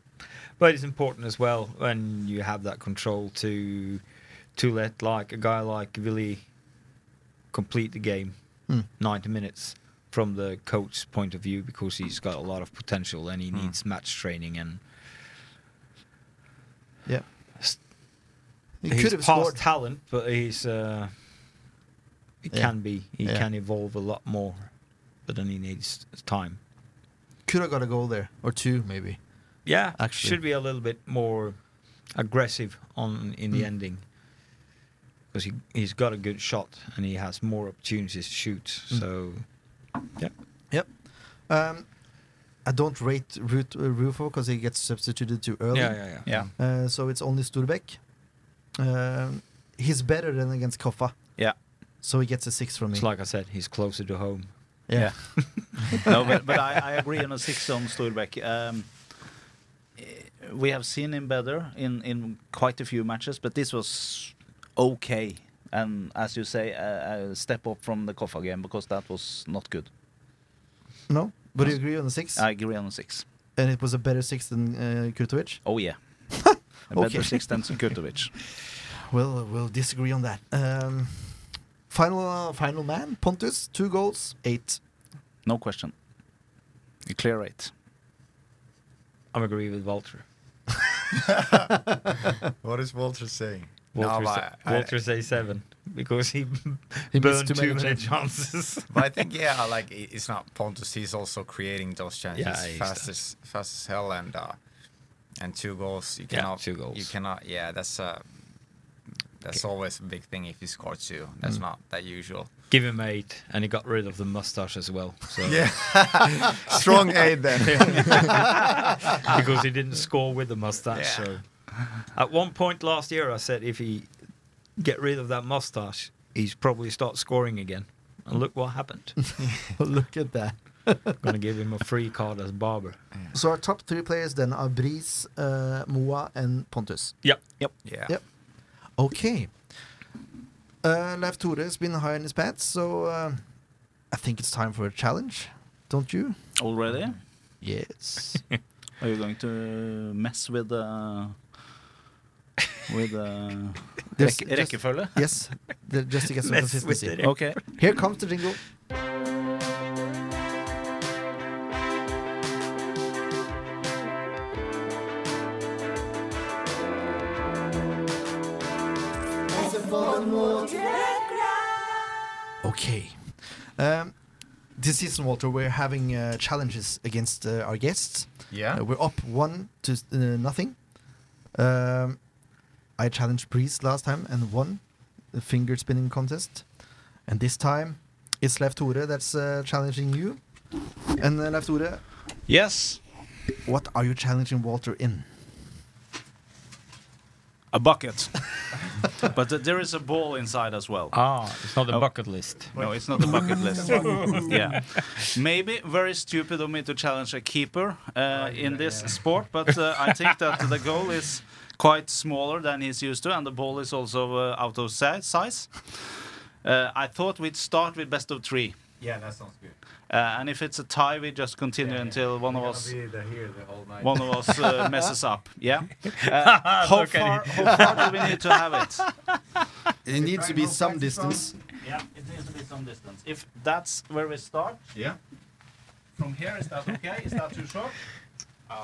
But it's important as well when you have that control to to let like a guy like Vili complete the game
Hmm.
ninety minutes from the coach's point of view because he's got a lot of potential and he
Hmm.
needs match training and
yeah.
S-
He
he's
could have
past
scored.
talent, but he's uh, he
Yeah.
can be he
Yeah.
can evolve a lot more, but then he needs time.
Could have got a goal there or two, maybe.
Yeah,
actually.
should be a little bit more aggressive on in the
Hmm.
ending because he he's got a good shot and he has more opportunities to shoot.
Hmm.
So yeah,
Yep. Um, I don't rate Rut, uh, Rufo because he gets substituted too early.
yeah, yeah, yeah.
Yeah,
Uh, so it's only Sturbeck. Um, he's better than against Koffa,
yeah,
so he gets a six from me.
It's like I said, he's closer to home.
yeah.
no, but, but I, I agree on a six on Stolbeck. Um, eh, we have seen him better in, in quite a few matches, but this was okay. And as you say, a, a step up from the Koffa game because that was not good.
No, but you agree on the six,
I agree on a six.
and it was a better six than uh, Kurtovic.
Oh, yeah. A
Okay.
better six than Sukutovic.
Well, we'll disagree on that. Um, final, uh, final man, Pontus, two goals, eight.
No question. You clear eight.
I'm agree with Walter.
What is Walter saying?
Walter,
no,
sa-
but I-
Walter say seven because he,
He missed
burned
too many
chances.
but I think yeah, like i- it's not Pontus. He's also creating those chances
Yeah, he's
fast
done.
as fast as hell, and uh, and two goals. You
Yeah,
cannot.
two goals.
You cannot. Yeah, that's uh, that's always a big thing if you score two.
Mm.
That's not that usual.
Give him eight, and he got rid of the mustache as well. So
strong aid then.
because he didn't score with the mustache.
Yeah.
So at one point last year, I said if he get rid of that mustache, he's probably start scoring again. And look what happened.
Look at that.
I'm gonna give him a free card as barber.
So our top three players then are Breeze, uh, Moa, and Pontus.
Yep.
yeah.
Yep. Okay. Uh, Leif Tore's been high on his pants, so uh, I think it's time for a challenge, don't you?
Already?
Yes.
Are you going to mess with uh, with uh,
Just-
rekke-
just-
rekkefølge?
yes. The, just to get some
Mess with
consistency.
it.
Okay.
Here comes the jingle. Okay. Um, this season, Walter, we're having uh, challenges against uh, our guests.
Yeah.
Uh, we're up one to s- uh, nothing. Um, I challenged Breeze last time and won the finger spinning contest. And this time, it's Leif Tore that's uh, challenging you. And uh, Leif Tore,
Yes.
what are you challenging Walter in?
A bucket. but th- there is a ball inside as well.
Ah, it's not a bucket list.
No, it's not a bucket list. yeah. Maybe very stupid of me to challenge a keeper uh, in this sport, but uh, I think that the goal is quite smaller than he's used to, and the ball is also uh, out of si- size. Uh, I thought we'd start with best of three.
Yeah, that sounds good.
Uh, and if it's a tie, we just continue until one of us
here the whole night.
one of us uh, messes up. Yeah. Uh, how, far, how far do we need to have it?
It needs to be some distance.
Yeah, it needs to be some distance. If that's where we start,
Yeah.
from here, is that okay? Is that too short?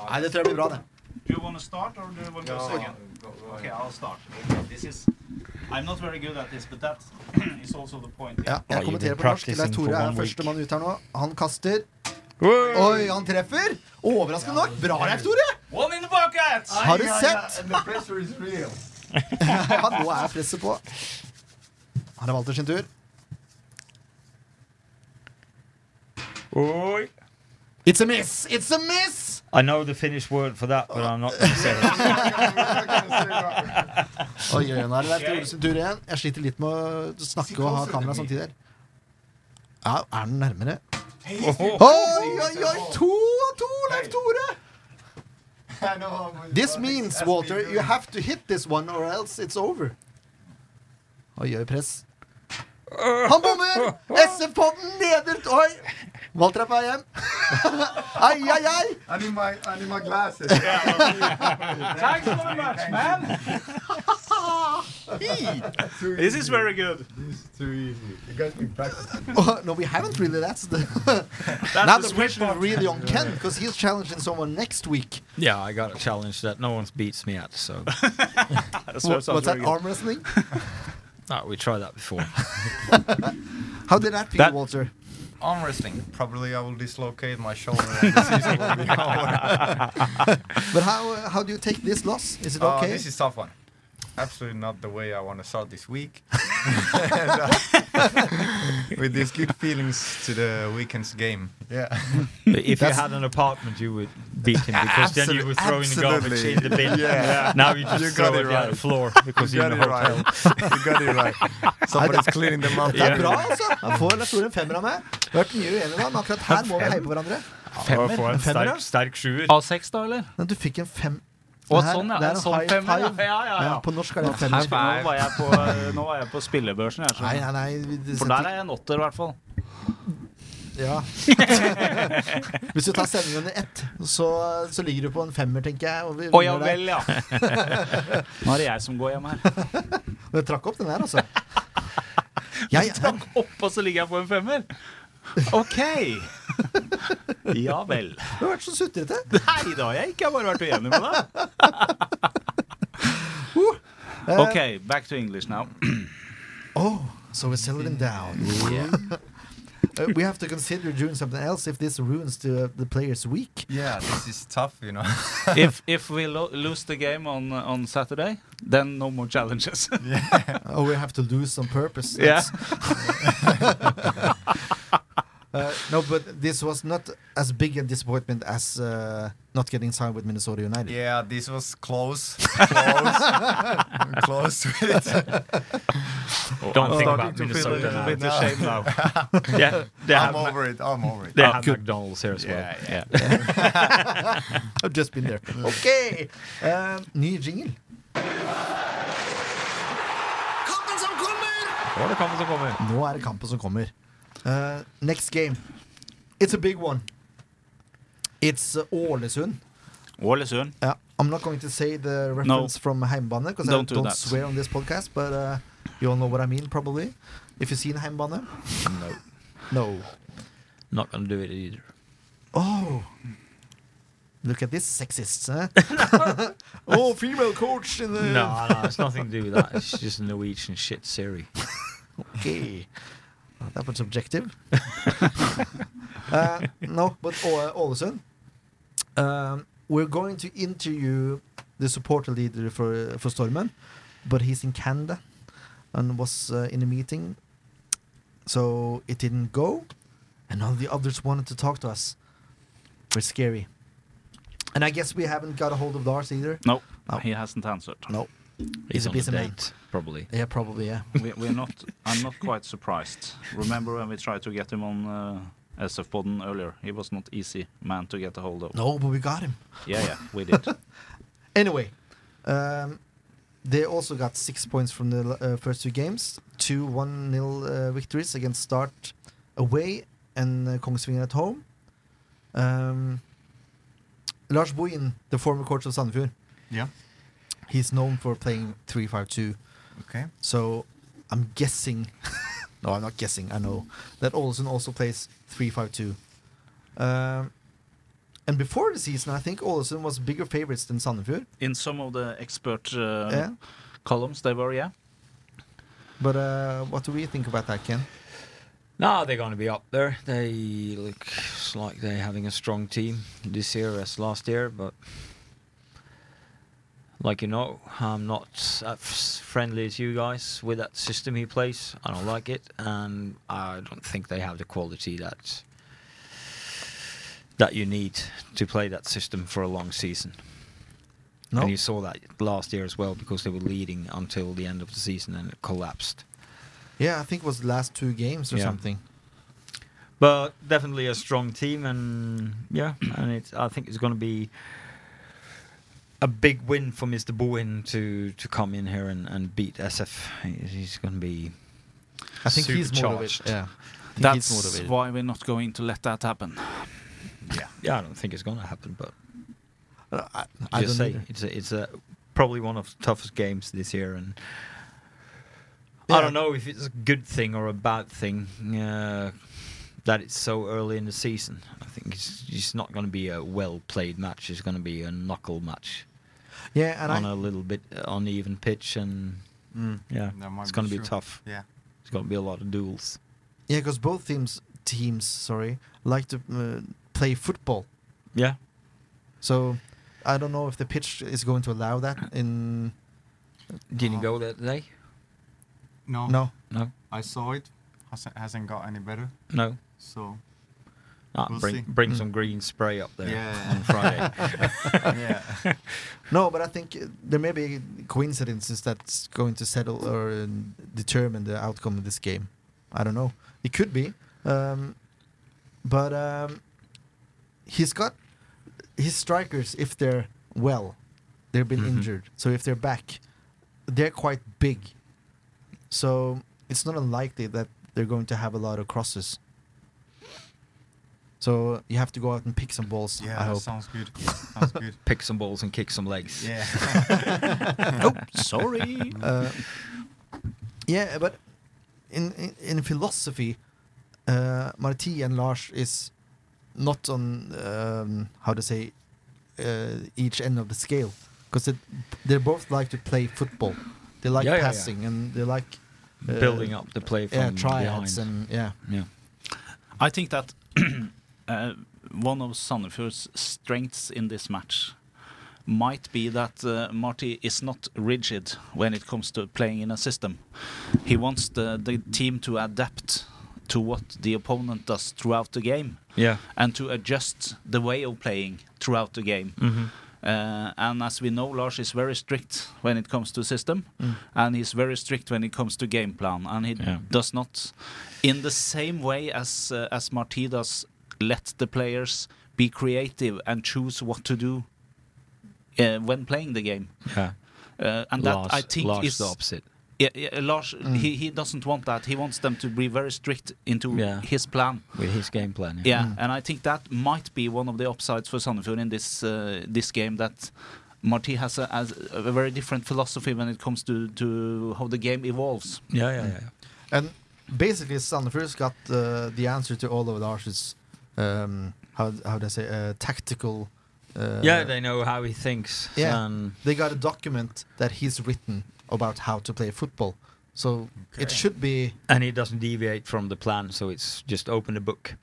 Nei, det tror jeg blir bra, det.
Do you want to start or do you want to go second? Okay, I'll start. This is. I'm not very good at this, but that is also the point.
Ja,
Well,
jeg
you've
kommenterer
been
på norsk. Leif
practicing
Tore
for
er
one week.
førstemann ut her nå. Han kaster. Oi, han treffer! Overraskende nok. Bra, Leif Tore!
One in the bucket!
Har du sett? Ja, nå er presset på. Her er Walter sin tur.
Oi.
It's a miss! It's a miss!
I know the Finnish word for that, but I'm not going to say it.
"Oh,
Oi, oi, oi, nå er det der Oles tur igjen. Jeg sliter litt med å snakke og ha kamera samtidig her. Ja, er den nærmere? Oi, oi, oi! To av to, Leif Tore! This means, Walter, you have to hit this one or else it's over. Oi, oi, press. Han bommer! SF-podden leder Oi! Walter er på vei hjem. Ai, ai, ai!
I need my I need my glasses.
Thanks very much, man. This is very good.
It's too easy. You guys been practicing.
Oh, no, we haven't really. That's the now the pressure is really on Ken because he's challenging someone next week.
Yeah, I got a challenge that no one's beats me at, so
That's
Wha- what's that arm wrestling?
no, Ah, we tried that before.
How did that feel,
That-
Walter?
Arm wrestling. Probably I will dislocate my shoulder. and this is what we call it.
But how uh, how do you take this loss? Is it
Uh,
okay?
This is tough one. Absolutely not the way I want to start this week. and, uh, with these good feelings to the weekend's game. Yeah.
if you had an apartment, you would beat him because then you
Absolute-
would throw in the garbage
absolutely.
in the bin.
Yeah.
Now you just
You
throw
got
it
it
on the
right.
floor because
You
you're
got
in
it
a hotel.
right. You got it right. Somebody's cleaning them up.
Det er bra, altså! Han får en stor femmer av meg. Vi har vært mye uenige med han, men akkurat her må vi heie på hverandre.
Femmer?
Femmer, ja.
Sterk, sterk sjuer.
A6, da, eller?
Men du fikk en fem...
Å,
Det her-
sånn, ja.
det er en
Sånn
high
femmer, ja.
five.
Ja, ja, ja.
Ja, på norsk er det en
Her,
femmer.
nå, var jeg på, nå var jeg på spillebørsen. Jeg,
Nei,
skjønner.
nei, nei. vi-
For der er jeg en åtter, i hvert fall.
Ja. Hvis du tar sendingen under ett, så, så ligger du på en femmer, tenker jeg. Og vi
Å ja
vinner der.
vel, ja. Nå er det jeg som går hjem her.
Men jeg trakk opp den her, altså. Jeg er
Opp, og så ligger jeg på en femmer. OK. Ja vel.
Du har vært så sutrete.
Nei, det har jeg ikke. Jeg har bare vært uenig med deg.
Uh.
OK, back to English now.
Oh, so we're settling down. Uh, we have to consider doing something else if this ruins the, the player's week.
Yeah, this is tough, you know.
If, if we lo lose the game on, on Saturday, then no more challenges.
Oh, we have to lose on purpose.
Yeah.
Uh, no, but this was not as big a disappointment as uh, not getting signed with Minnesota United.
Yeah, this was close. Close. close to it.
Oh,
Don't think
starting
about
to feel a
Minnesota
little
now.
bit ashamed
now. yeah, they
I'm
have,
over it. I'm over it.
they have McDonald's here as well.
Yeah, yeah.
I've just been there. Okay. Um, ny jingle.
Nå er det kampen som kommer.
Nå er det kampen som kommer. Uh, next game. It's a big one. It's uh, Ålesund.
Ålesund.
Yeah, I'm not going to say the reference from Heimbane because I
Don't do
don't
that.
swear on this podcast, but uh, you all know what I mean probably. If you've seen Heimbane? No. No.
Not gonna do it either.
Oh. Look at this sexist, huh? oh, female coach in
Uh,
the.
No, no, it's nothing to do with that. It's just Norwegian shit Siri.
Okay. That was objective. uh, no, but Å- Ålesund. Um, we're going to interview the supporter leader for for Stormen, but he's in Canada and was uh, in a meeting, so it didn't go. And all the others wanted to talk to us. We're scary. And I guess we haven't got a hold of Lars either.
No,
No.
he hasn't answered.
No.
He's
a
on a
busy man.
date, probably.
Yeah, probably. Yeah.
We, we're not, I'm not quite surprised. Remember when we tried to get him on uh, SF Podden earlier? He was not easy man to get a hold of.
No, but we got him.
Yeah, yeah, we did.
Anyway, um, they also got six points from the uh, first two games. Two 1 0 uh, victories against Start away and uh, Kongsvinger at home. Um, Lars Bohin, the former coach of Sandefjord,
Yeah.
he's known for playing 3 5 2.
Okay.
So I'm guessing, no, I'm not guessing, I know, that Olsen also plays 3 5 2. Um, and before the season, I think Olsen was bigger favorites than Sandefjord.
In some of the expert uh,
Yeah.
columns, they were, yeah.
But uh, what do we think about that, Ken?
No, they're going to be up there. They look like they're having a strong team this year as last year, but like you know, I'm not as friendly as you guys with that system he plays. I don't like it, and I don't think they have the quality that that you need to play that system for a long season.
No.
And you saw that last year as well because they were leading until the end of the season and it collapsed.
Yeah, I think it was the last two games or
Yeah.
something.
But definitely a strong team, and yeah, and it's, I think it's going to be a big win for Mr. Bowen to to come in here and, and beat SF. He's- He's going to be
I think he's motivated.
Supercharged.
Yeah. I think he's
That's
motivated.
why we're not going to let that happen.
yeah. I don't think it's going to happen, but
Uh, I, I don't
just say
either.
it's a, it's a probably one of the toughest games this year, and
Yeah.
I don't know if it's a good thing or a bad thing uh, that it's so early in the season. I think it's it's not going to be a well played match. It's going to be a knuckle match
Yeah, and
on a
I, Mm.
little bit uneven pitch, and yeah,
That might
it's
be
going to be
true.
tough.
Yeah.
It's going to be a lot of duels.
yeah, because both teams teams sorry like to uh, play football.
Yeah,
So I don't know if the pitch is going to allow that. In
Oh.
didn't go there today.
No,
no,
No,
I saw it. Hasn't, hasn't got any better.
no.
So
Ah,
We'll
bring
see.
bring some green spray up there
Yeah.
on Friday.
yeah,
no, but I think uh, there may be coincidences that's going to settle or uh, determine the outcome of this game. I don't know. It could be, um, but um, he's got his strikers. If they're well, they've been
Mm-hmm.
injured. So if they're back, they're quite big. So it's not unlikely that they're going to have a lot of crosses. So you have to go out and pick some balls.
yeah,
I
that
hope.
sounds good. Sounds good.
Pick some balls and kick some legs.
Yeah.
oh, sorry.
Uh, yeah, but in in, in philosophy, uh, Marti and Lars is not on um, how to say uh, each end of the scale because they they both like to play football. They like
Yeah, yeah, yeah.
passing and they like uh,
Building up the play from
yeah,
behind.
tryouts and yeah.
yeah.
I think that uh, one of Sandefjord's strengths in this match might be that uh, Marty is not rigid when it comes to playing in a system. He wants the, the team to adapt to what the opponent does throughout the game
Yeah.
and to adjust the way of playing throughout the game.
Mm-hmm.
Uh, and as we know, Lars is very strict when it comes to system, and he's very strict when it comes to game plan. And he
Mm. Yeah.
does not, in the same way as uh, as Marti does, let the players be creative and choose what to do uh, when playing the game.
Yeah.
Uh, and that I think
Lars
is
the opposite. Mm.
yeah, yeah, Lars. He he doesn't want that. He wants them to be very strict into
Yeah.
his plan.
With his game plan.
Yeah, and I think that might be one of the upsides for Sandefjord in this uh, this game that Marti has a, has a very different philosophy when it comes to, to how the game evolves.
Yeah, Mm-hmm. yeah, yeah.
And basically, Sandefjord's got uh, the answer to all of Lars's um, how how do I say uh, tactical. Uh,
yeah, they know how he thinks.
Yeah.
And
they got a document that he's written about how to play football. So it should be
and he doesn't deviate from the plan, so it's just open the book.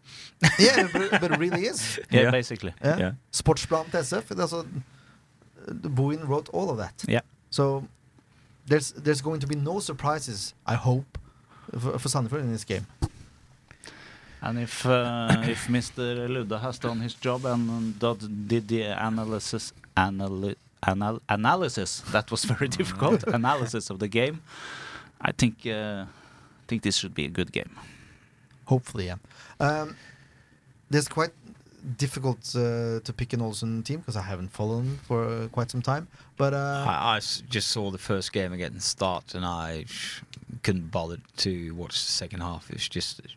yeah, but, but it really is.
Yeah,
Yeah.
basically.
Yeah.
Yeah.
Sportsplan til SF. That's what Boeing wrote all of that.
Yeah.
So there's there's going to be no surprises. I hope for, for Sandefjord in this game.
And if uh, if Mr. Ludde has done his job and um, did, did the analysis anal, anal, analysis that was very difficult analysis of the game, I think uh, I think this should be a good game.
Hopefully, yeah. Um, there's quite difficult uh, to pick an Olsen team because I haven't followed for uh, quite some time. But uh,
I, I s- just saw the first game against Start, and I sh- couldn't bother to watch the second half. It was just a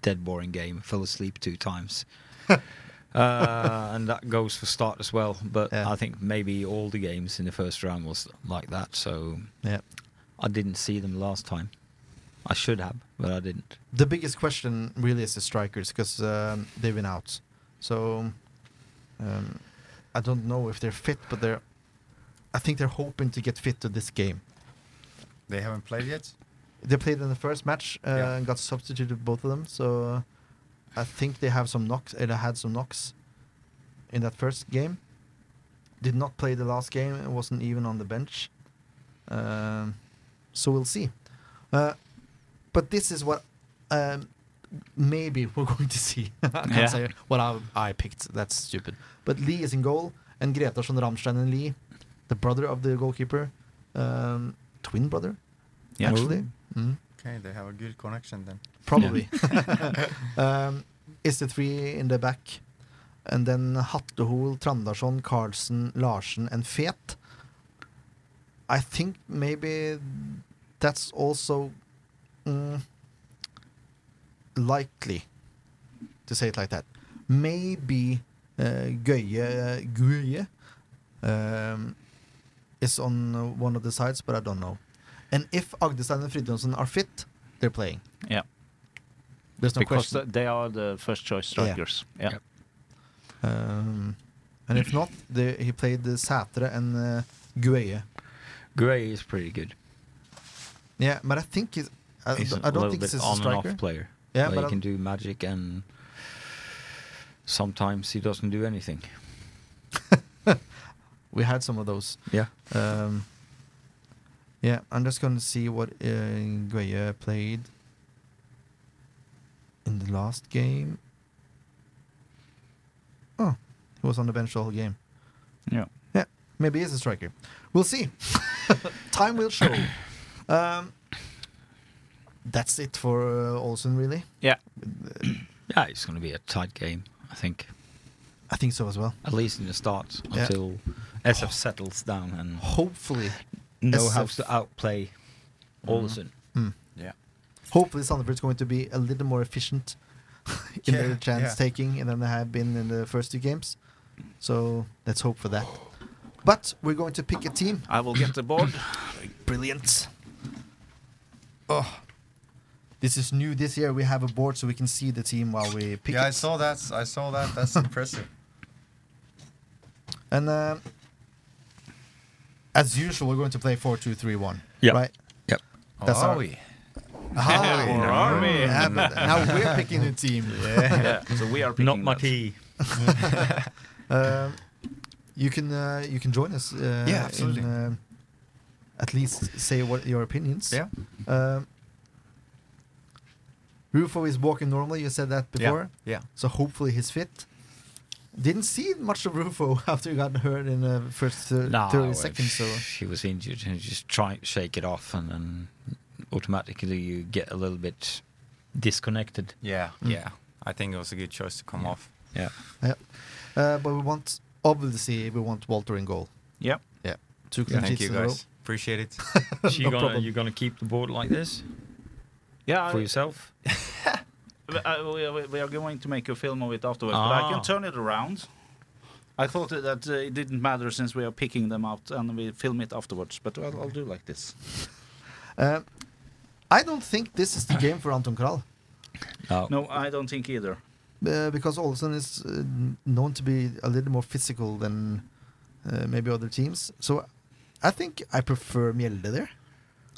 dead boring game. I fell asleep two times. uh, and that goes for Start as well. But
Yeah.
I think maybe all the games in the first round was like that. So
yeah.
I didn't see them last time. I should have, but I didn't.
the biggest question really is the strikers because um, they've been out. So um, I don't know if they're fit, but they're. I think they're hoping to get fit to this game.
they haven't played yet.
They played in the first match uh,
Yeah.
and got substituted both of them. So I think they have some knocks. uh, They had some knocks in that first game. Did not play the last game. It wasn't even on the bench. Um, so we'll see. Uh, but this is what um, maybe we're going to see. I can't
Yeah.
say what I, I picked. That's stupid. But Lee is in goal, and Gretarsson, Ramstein, and Lee, the brother of the goalkeeper, um, twin brother,
Yeah.
actually, mm,
Okay, they have a good connection then.
probably, um, is the three in the back. And then Hattehol, Trandarsson, Carlsen, Larsen, and Fet. I think maybe that's also mm, likely to say it like that. Maybe uh, Gøye, Gøye um, is on uh, one of the sides, but I don't know. And if Agdestein and Fridtjonsson are fit, they're playing.
Yeah.
There's no
because
question.
th- they are the first choice strikers. Yeah.
Um, and if not, the, he played the Sætre and uh, Gueye.
Gray is pretty good.
Yeah, but I think he's. I,
He's
I don't think
bit
he's a
on
striker.
and off player.
Yeah,
Like,
but
he
I-
can do magic and sometimes he doesn't do anything.
We had some of those.
Yeah.
Um, yeah, I'm just going to see what uh, Gueye played in the last game. Oh, he was on the bench the whole game.
Yeah.
Yeah, maybe he's a striker. We'll see. Time will show. Um, that's it for uh, Olsen, really.
Yeah.
Yeah, it's going to be a tight game, I think.
I think so as well.
At least in the start
Yeah.
until SF settles down and
Hopefully,
know
SF.
how to outplay
Mm-hmm.
Olsen.
hopefully Sandefjord's going to be a little more efficient in
Yeah,
their chance
yeah.
taking than they have been in the first two games. So let's hope for that. But we're going to pick a team.
I will get the board.
Brilliant. Oh, this is new this year. We have a board so we can see the team while we pick
yeah, I
it.
saw that. I saw that. That's impressive.
And um, as usual, we're going to play four two three one.
Yep.
Right.
Yep.
That's our- Ah,
Or are we?
yeah, but now we're picking a team.
Yeah. So we are picking
Not my
that.
tea.
Um, you can uh, you can join us. Uh,
Yeah, absolutely.
In, um, at least say what your opinions.
Yeah.
Um, Rufo is walking normally. You said that before.
Yeah.
So hopefully he's fit. Didn't see much of Rufo after he got hurt in the first thir-
No,
thirty
if
seconds. So
she was injured and you just try and shake it off, and then automatically you get a little bit disconnected.
Yeah.
Mm.
Yeah. I think it was a good choice to come off.
Yeah,
uh, but we want obviously we want Walter in goal.
Yep.
Yeah. Two clean
Thank
sheets
you
in a row.
guys. Appreciate it.
you gonna,
problem.
You gonna keep the board like this
Yeah. I-
for yourself?
We- I- we, uh, we- we are going to make a film of it afterwards, but I
Ah.
can turn it around. I thought that uh, it didn't matter since we are picking them out and we film it afterwards, but I'll, I'll do like this.
Uh, I don't think this is the game for Anton Kral.
Oh.
No, I don't think either.
uh, because Olsen is uh, known to be a little more physical than uh, maybe other teams. So I think I prefer Mjelde there.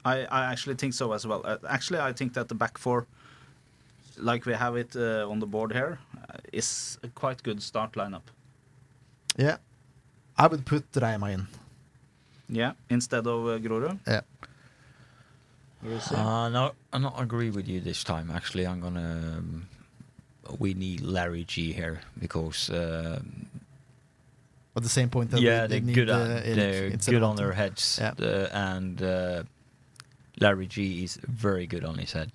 I, I actually think so as well. Uh, actually, I think that the back four, like we have it uh, on the board here, uh, is a quite good start lineup.
Yeah. I would put Reima in.
Yeah, instead of uh, Grorud.
Yeah.
Where is he?
Uh, no, I not agree with you this time. Actually, I'm gonna. Um, we need Larry G here because uh,
At the same point that
yeah,
they,
they're
they need
good
uh,
at
Erik
they're
instead
good
of
on their
Anton.
heads,
Yeah.
uh, and uh, Larry G is very good on his head.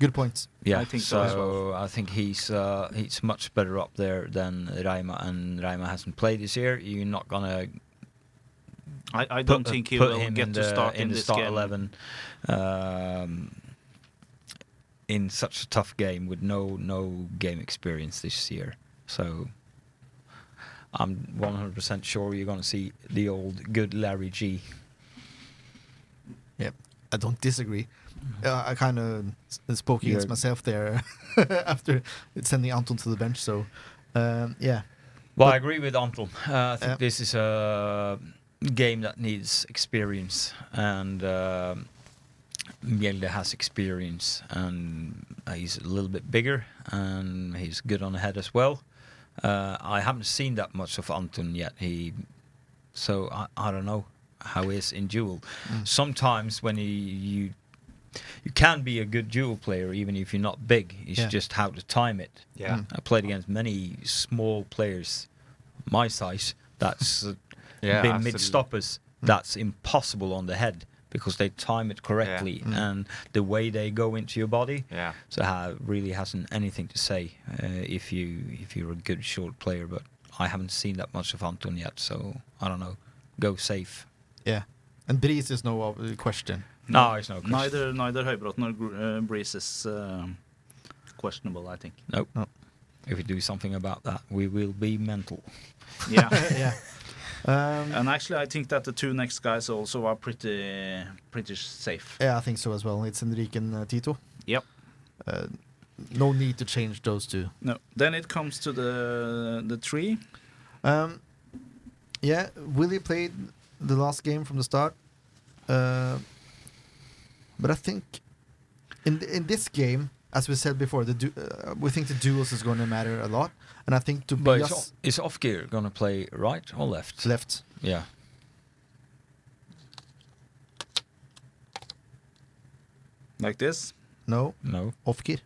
Good points.
Yeah,
I think
so.
so as
I think he's uh, he's much better up there than Raima, and Raima hasn't played this year. You're not gonna
I, I
put, uh,
don't think he
put
will
him
get
in
to
the,
start
in,
in,
the
this
start
game.
eleven um, in such a tough game with no no game experience this year. So I'm 100% sure you're gonna see the old good Larry G.
Yeah. I don't disagree. Uh, I kind of
uh,
spoke against
You're-
myself there after sending Anton to the bench. So um, yeah.
Well, I agree with Anton. Uh, I think
Yeah.
this is a game that needs experience, and um Mjelde has experience, and he's a little bit bigger, and he's good on the head as well. Uh, I haven't seen that much of Anton yet. He,
Mm.
so I, I don't know how he is in duel. Sometimes when he, you you can be a good dual player even if you're not big. It's
Yeah.
just how to time it.
Yeah.
I played against many small players my size that's uh,
Yeah,
been
absolutely. Hmm.
mid stoppers. That's impossible on the head because they time it correctly and the way they go into your body.
hmm. Yeah.
So ha really hasn't anything to say uh, if you if you're a good short player. But I haven't seen that much of Anton yet, so I don't know. Go safe.
Yeah. And Breeze is no uh, question.
No, it's no question.
Neither, neither Høybråten or Gr- uh, Breeze is uh, questionable, I think.
Nope. If we do something about that, we will be mental.
Yeah.
yeah. Um,
and actually, I think that the two next guys also are pretty, pretty safe.
Yeah, I think so as well. It's Enrique and uh, Tito.
Yep.
Uh, no need to change those two.
No. Then it comes to the the tree.
Um, yeah, Willie played the last game from the start, uh, but I think in in this game, as we said before, the du- uh, we think the duels is going to matter a lot, and I think
But is,
Tobias
o- is off gear going to play right or left?
left.
Yeah.
Like this.
No,
No.
off gear.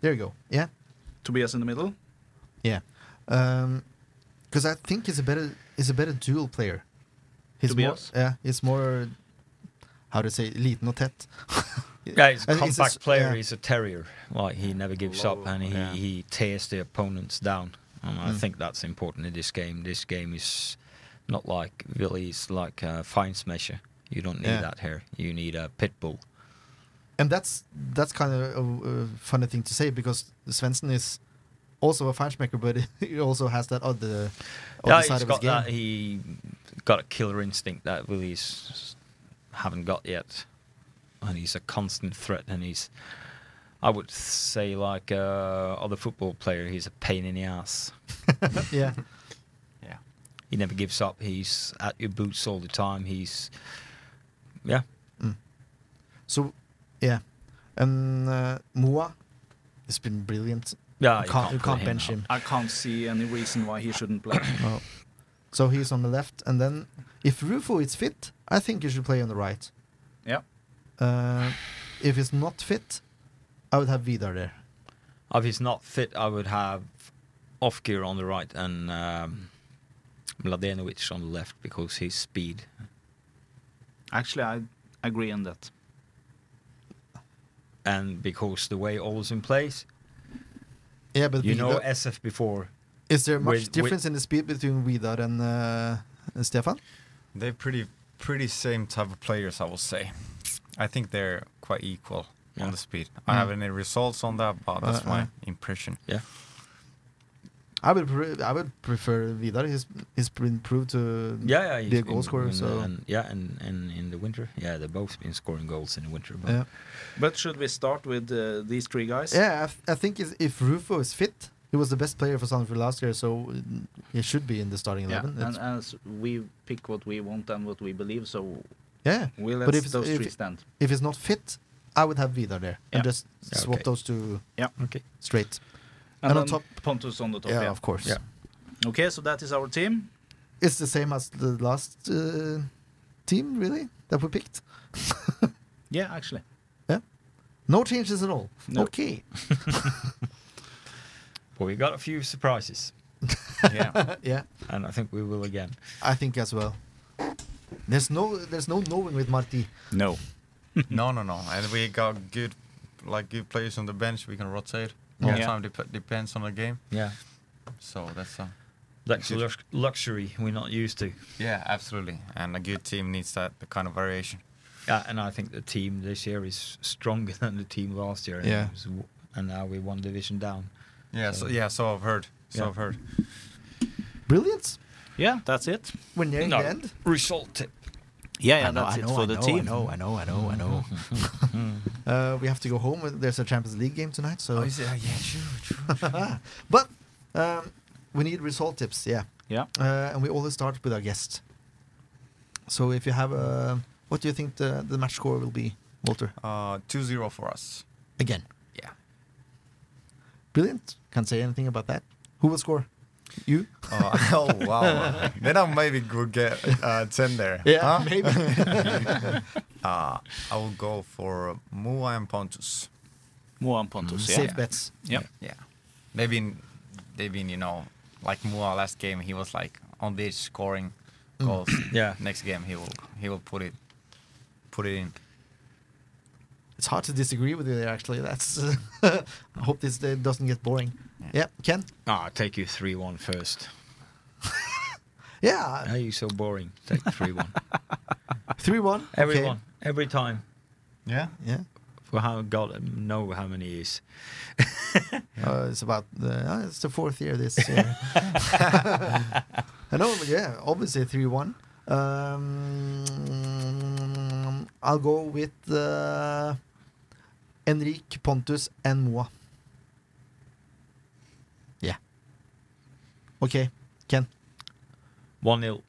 There you go. Yeah,
Tobias in the middle.
yeah. Because Um, I think he's a better he's a better dual player. He's
Tobias?
more yeah. He's more how to say liten og tett.
Yeah, he's a
And he's a
compact
s-
player.
yeah.
He's a terrier. Like he never gives up, and he,
yeah.
he tears the opponents down. And I
Mm.
think that's important in this game. This game is not like Willie's like a fine smasher. You don't need
Yeah.
that here. You need a pit bull.
and that's that's kind of a, a funny thing to say because Svensson is also a matchmaker, but he also has that other, other
Yeah,
side
he's
of his
got
game.
that. He got a killer instinct that Willie's haven't got yet, and he's a constant threat. And he's, I would say, like uh, other football player, he's a pain in the ass.
yeah,
Yeah.
He never gives up. He's at your boots all the time. He's, yeah,
Mm. so yeah, and uh, Mua has been brilliant.
yeah.
you can't, you
put
can't bench
out.
him.
I can't see any reason why he shouldn't play.
No. So he's on the left, and then if Rufo is fit, I think you should play on the right.
Yeah.
Uh, if he's not fit, I would have Vidar there.
If he's not fit, I would have off gear on the right and um, Mladenovic on the left because his speed.
Actually, I agree on that.
And because the way Olsen plays,
Yeah, but
You
Vidar,
know SF before.
is there much
with- with-
difference in the speed between Vidar and uh, Stefan?
They're pretty pretty same type of players, I will say. I think they're quite equal
Yeah.
on the speed. I
Mm.
haven't any results on that, but that's
Uh,
my
uh.
impression.
I would pre- I would prefer Vidar. He's he's been proved to
Yeah, yeah. he's
be a
been-
goal scorer.
been,
So
uh, and, yeah, and, and in the winter, yeah, they've both been scoring goals in the winter. But
yeah,
But should we start with uh, these three guys?
yeah. I, th- I think is- if Rufo is fit, he was the best player for Sandefjord last year, so mm, he should be in the starting
Yeah,
eleven.
and
It's-
uh,
as we pick what we want and what we believe, so
yeah.
we
But
let
if it's-
those
if
three
it-
stand.
If he's not fit, I would have Vidar there
Yeah.
and just
Yeah,
swap
okay.
those two
Yeah.
Okay.
straight.
And,
And
on
on
top, Pontus on the top.
yeah,
Yeah,
of course.
Yeah.
Okay, so that is our team.
It's the same as the last uh, team really that we picked.
Yeah, actually.
No changes at all.
No.
Okay.
Well, we got a few surprises,
yeah.
yeah.
and I think we will again.
I think as well. There's no there's no knowing with Marti.
No.
No, no, no. And we got good like good players on the bench. We can rotate. All
Yeah.
time dep- depends on the game.
Yeah,
So that's uh,
that's lux- luxury we're not used to.
yeah, absolutely. And a good team needs that kind of variation.
Yeah, and I think the team this year is stronger than the team last year. and
Yeah.
it was w- and now we're one division down.
Yeah,
So-
so, yeah, so I've heard. So
Yeah.
I've heard.
Brilliant.
Yeah, that's it.
We're nearing
No.
the end.
Result tip.
Yeah, yeah, that's it for the team.
I know, I know, I know.
Hmm.
uh, we have to go home. There's a Champions League game tonight,
Oh,
so.
yeah, true, true.
but um, we need result tips, yeah.
Yeah.
Uh, and we always start with our guest. So if you have a, what do you think the, the match score will be, Walter?
Uh, 2-0 for us.
Again,
Yeah.
brilliant. Can't say anything about that. Who will score? You?
Oh, oh, wow. then I maybe could get uh, 10 there.
Yeah,
Huh?
maybe.
Uh, I will go for Mua and Pontus.
Moan Pontus, yeah.
Safe bets.
yeah.
Yeah. They've been, they've been, you know, like Mua last game, he was like on the edge scoring
Mm.
goals.
Yeah.
Next game, he will, he will put it, put it in.
It's hard to disagree with you there. Actually, that's. I hope this uh, doesn't get boring. Yeah, Ken.
Ah, I'll take you 3 1 first.
Yeah,
How are you so boring? Take 3 1.
three one.
Everyone, every time.
Yeah.
Yeah.
For how God know how many years.
Uh, it's about the uh, it's the fourth year this year. I know, but yeah, obviously three one. Um, I'll go with uh, Enrique Pontus and Moa. Yeah. Okay, Ken.
1 0.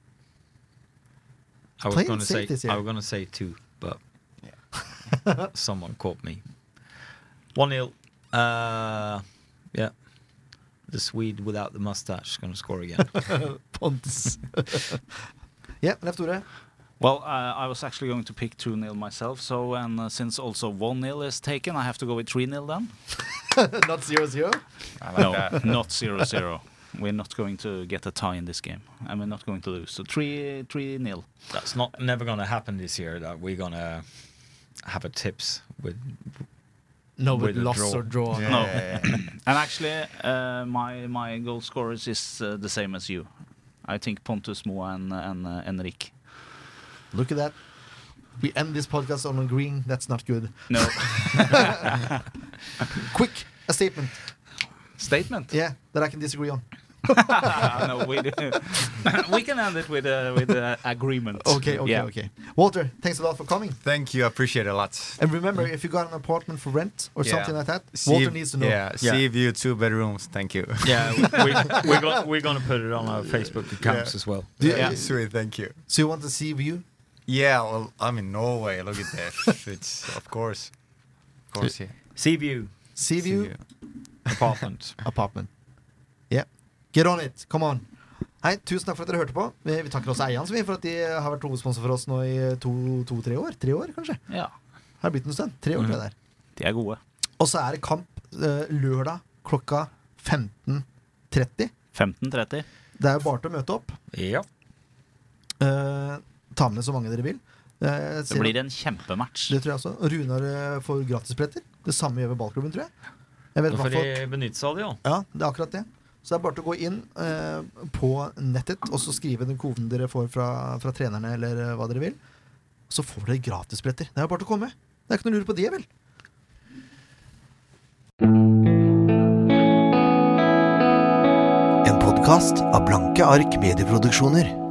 I was
Playing
going to
safe
say
this year.
I was going to say 2, but someone caught me. 1 0. Uh, yeah. The Swede without the mustache is going to score again.
Pontus. yeah, Leif Tore.
Well, uh, I was actually going to pick 2 0 myself, so and uh, since also 1 0 is taken, I have to go with 3 0 then.
Not zero zero.
I like
No,
that.
not 0 0. We're not going to get a tie in this game, and we're not going to lose. So 3 3 0.
That's not never going to happen this year. That we're going to have a tips with
No, but
With a
loss
draw.
or draw.
Yeah,
No.
yeah, yeah.
And actually, uh, my my goal scorers is uh, the same as you. I think Pontus Moa and, and uh, Enric.
Look at that. We end this podcast on agreeing. That's not good.
No
Quick, a statement.
statement.
Yeah, that I can disagree on.
no, we do. we can end it with uh, with uh, agreement.
Okay, okay,
Yeah.
okay. Walter, thanks a lot for coming.
Thank you. I appreciate it a lot.
And remember, if you got an apartment for rent or
Yeah.
something like that,
See
Walter
if-
needs to know.
Yeah, see if you two bedrooms. Thank you.
Uh,
Yeah, we, we, we're, going, we're going to put it on our uh, Facebook accounts as well.
Do you-
yeah, sweet. Thank you.
So you want to see view?
Yeah, well, I'm in Norway. Look at that. it's of course, of course, yeah.
Sea view
Sea
See
view
you.
apartment.
apartment. Yeah. Get on it. Come on. Hei, tusen takk for at dere hørte på. Vi vi takker også eierne som vi, for at de har vært hovedsponsor for oss nå i to-tre år. Tre år, kanskje.
Ja.
Har det blitt en stund. Tre år, tror
Mm.
jeg det er.
De er gode.
Og så er det kamp eh, lørdag klokka 15.30.
15.30.
Det er jo bare til å møte opp.
ja.
Eh, ta med så mange dere vil. Eh,
Det blir en kjempematch.
Det tror jeg også. Og Runar eh, får gratisbilletter. Det samme gjør vi ballklubben, tror jeg. jeg
Da
vet, i
får
hvert fall-
de benytte seg av det, ja.
ja, det er akkurat det. Så det er bare til å gå inn eh, på nettet og så skrive den koden dere får fra, fra trenerne, eller eh, hva dere vil. Så får dere gratisbilletter. Det er jo bare til å komme. Det er ikke noe å lure på det, vel?
En podkast av Blanke ark medieproduksjoner.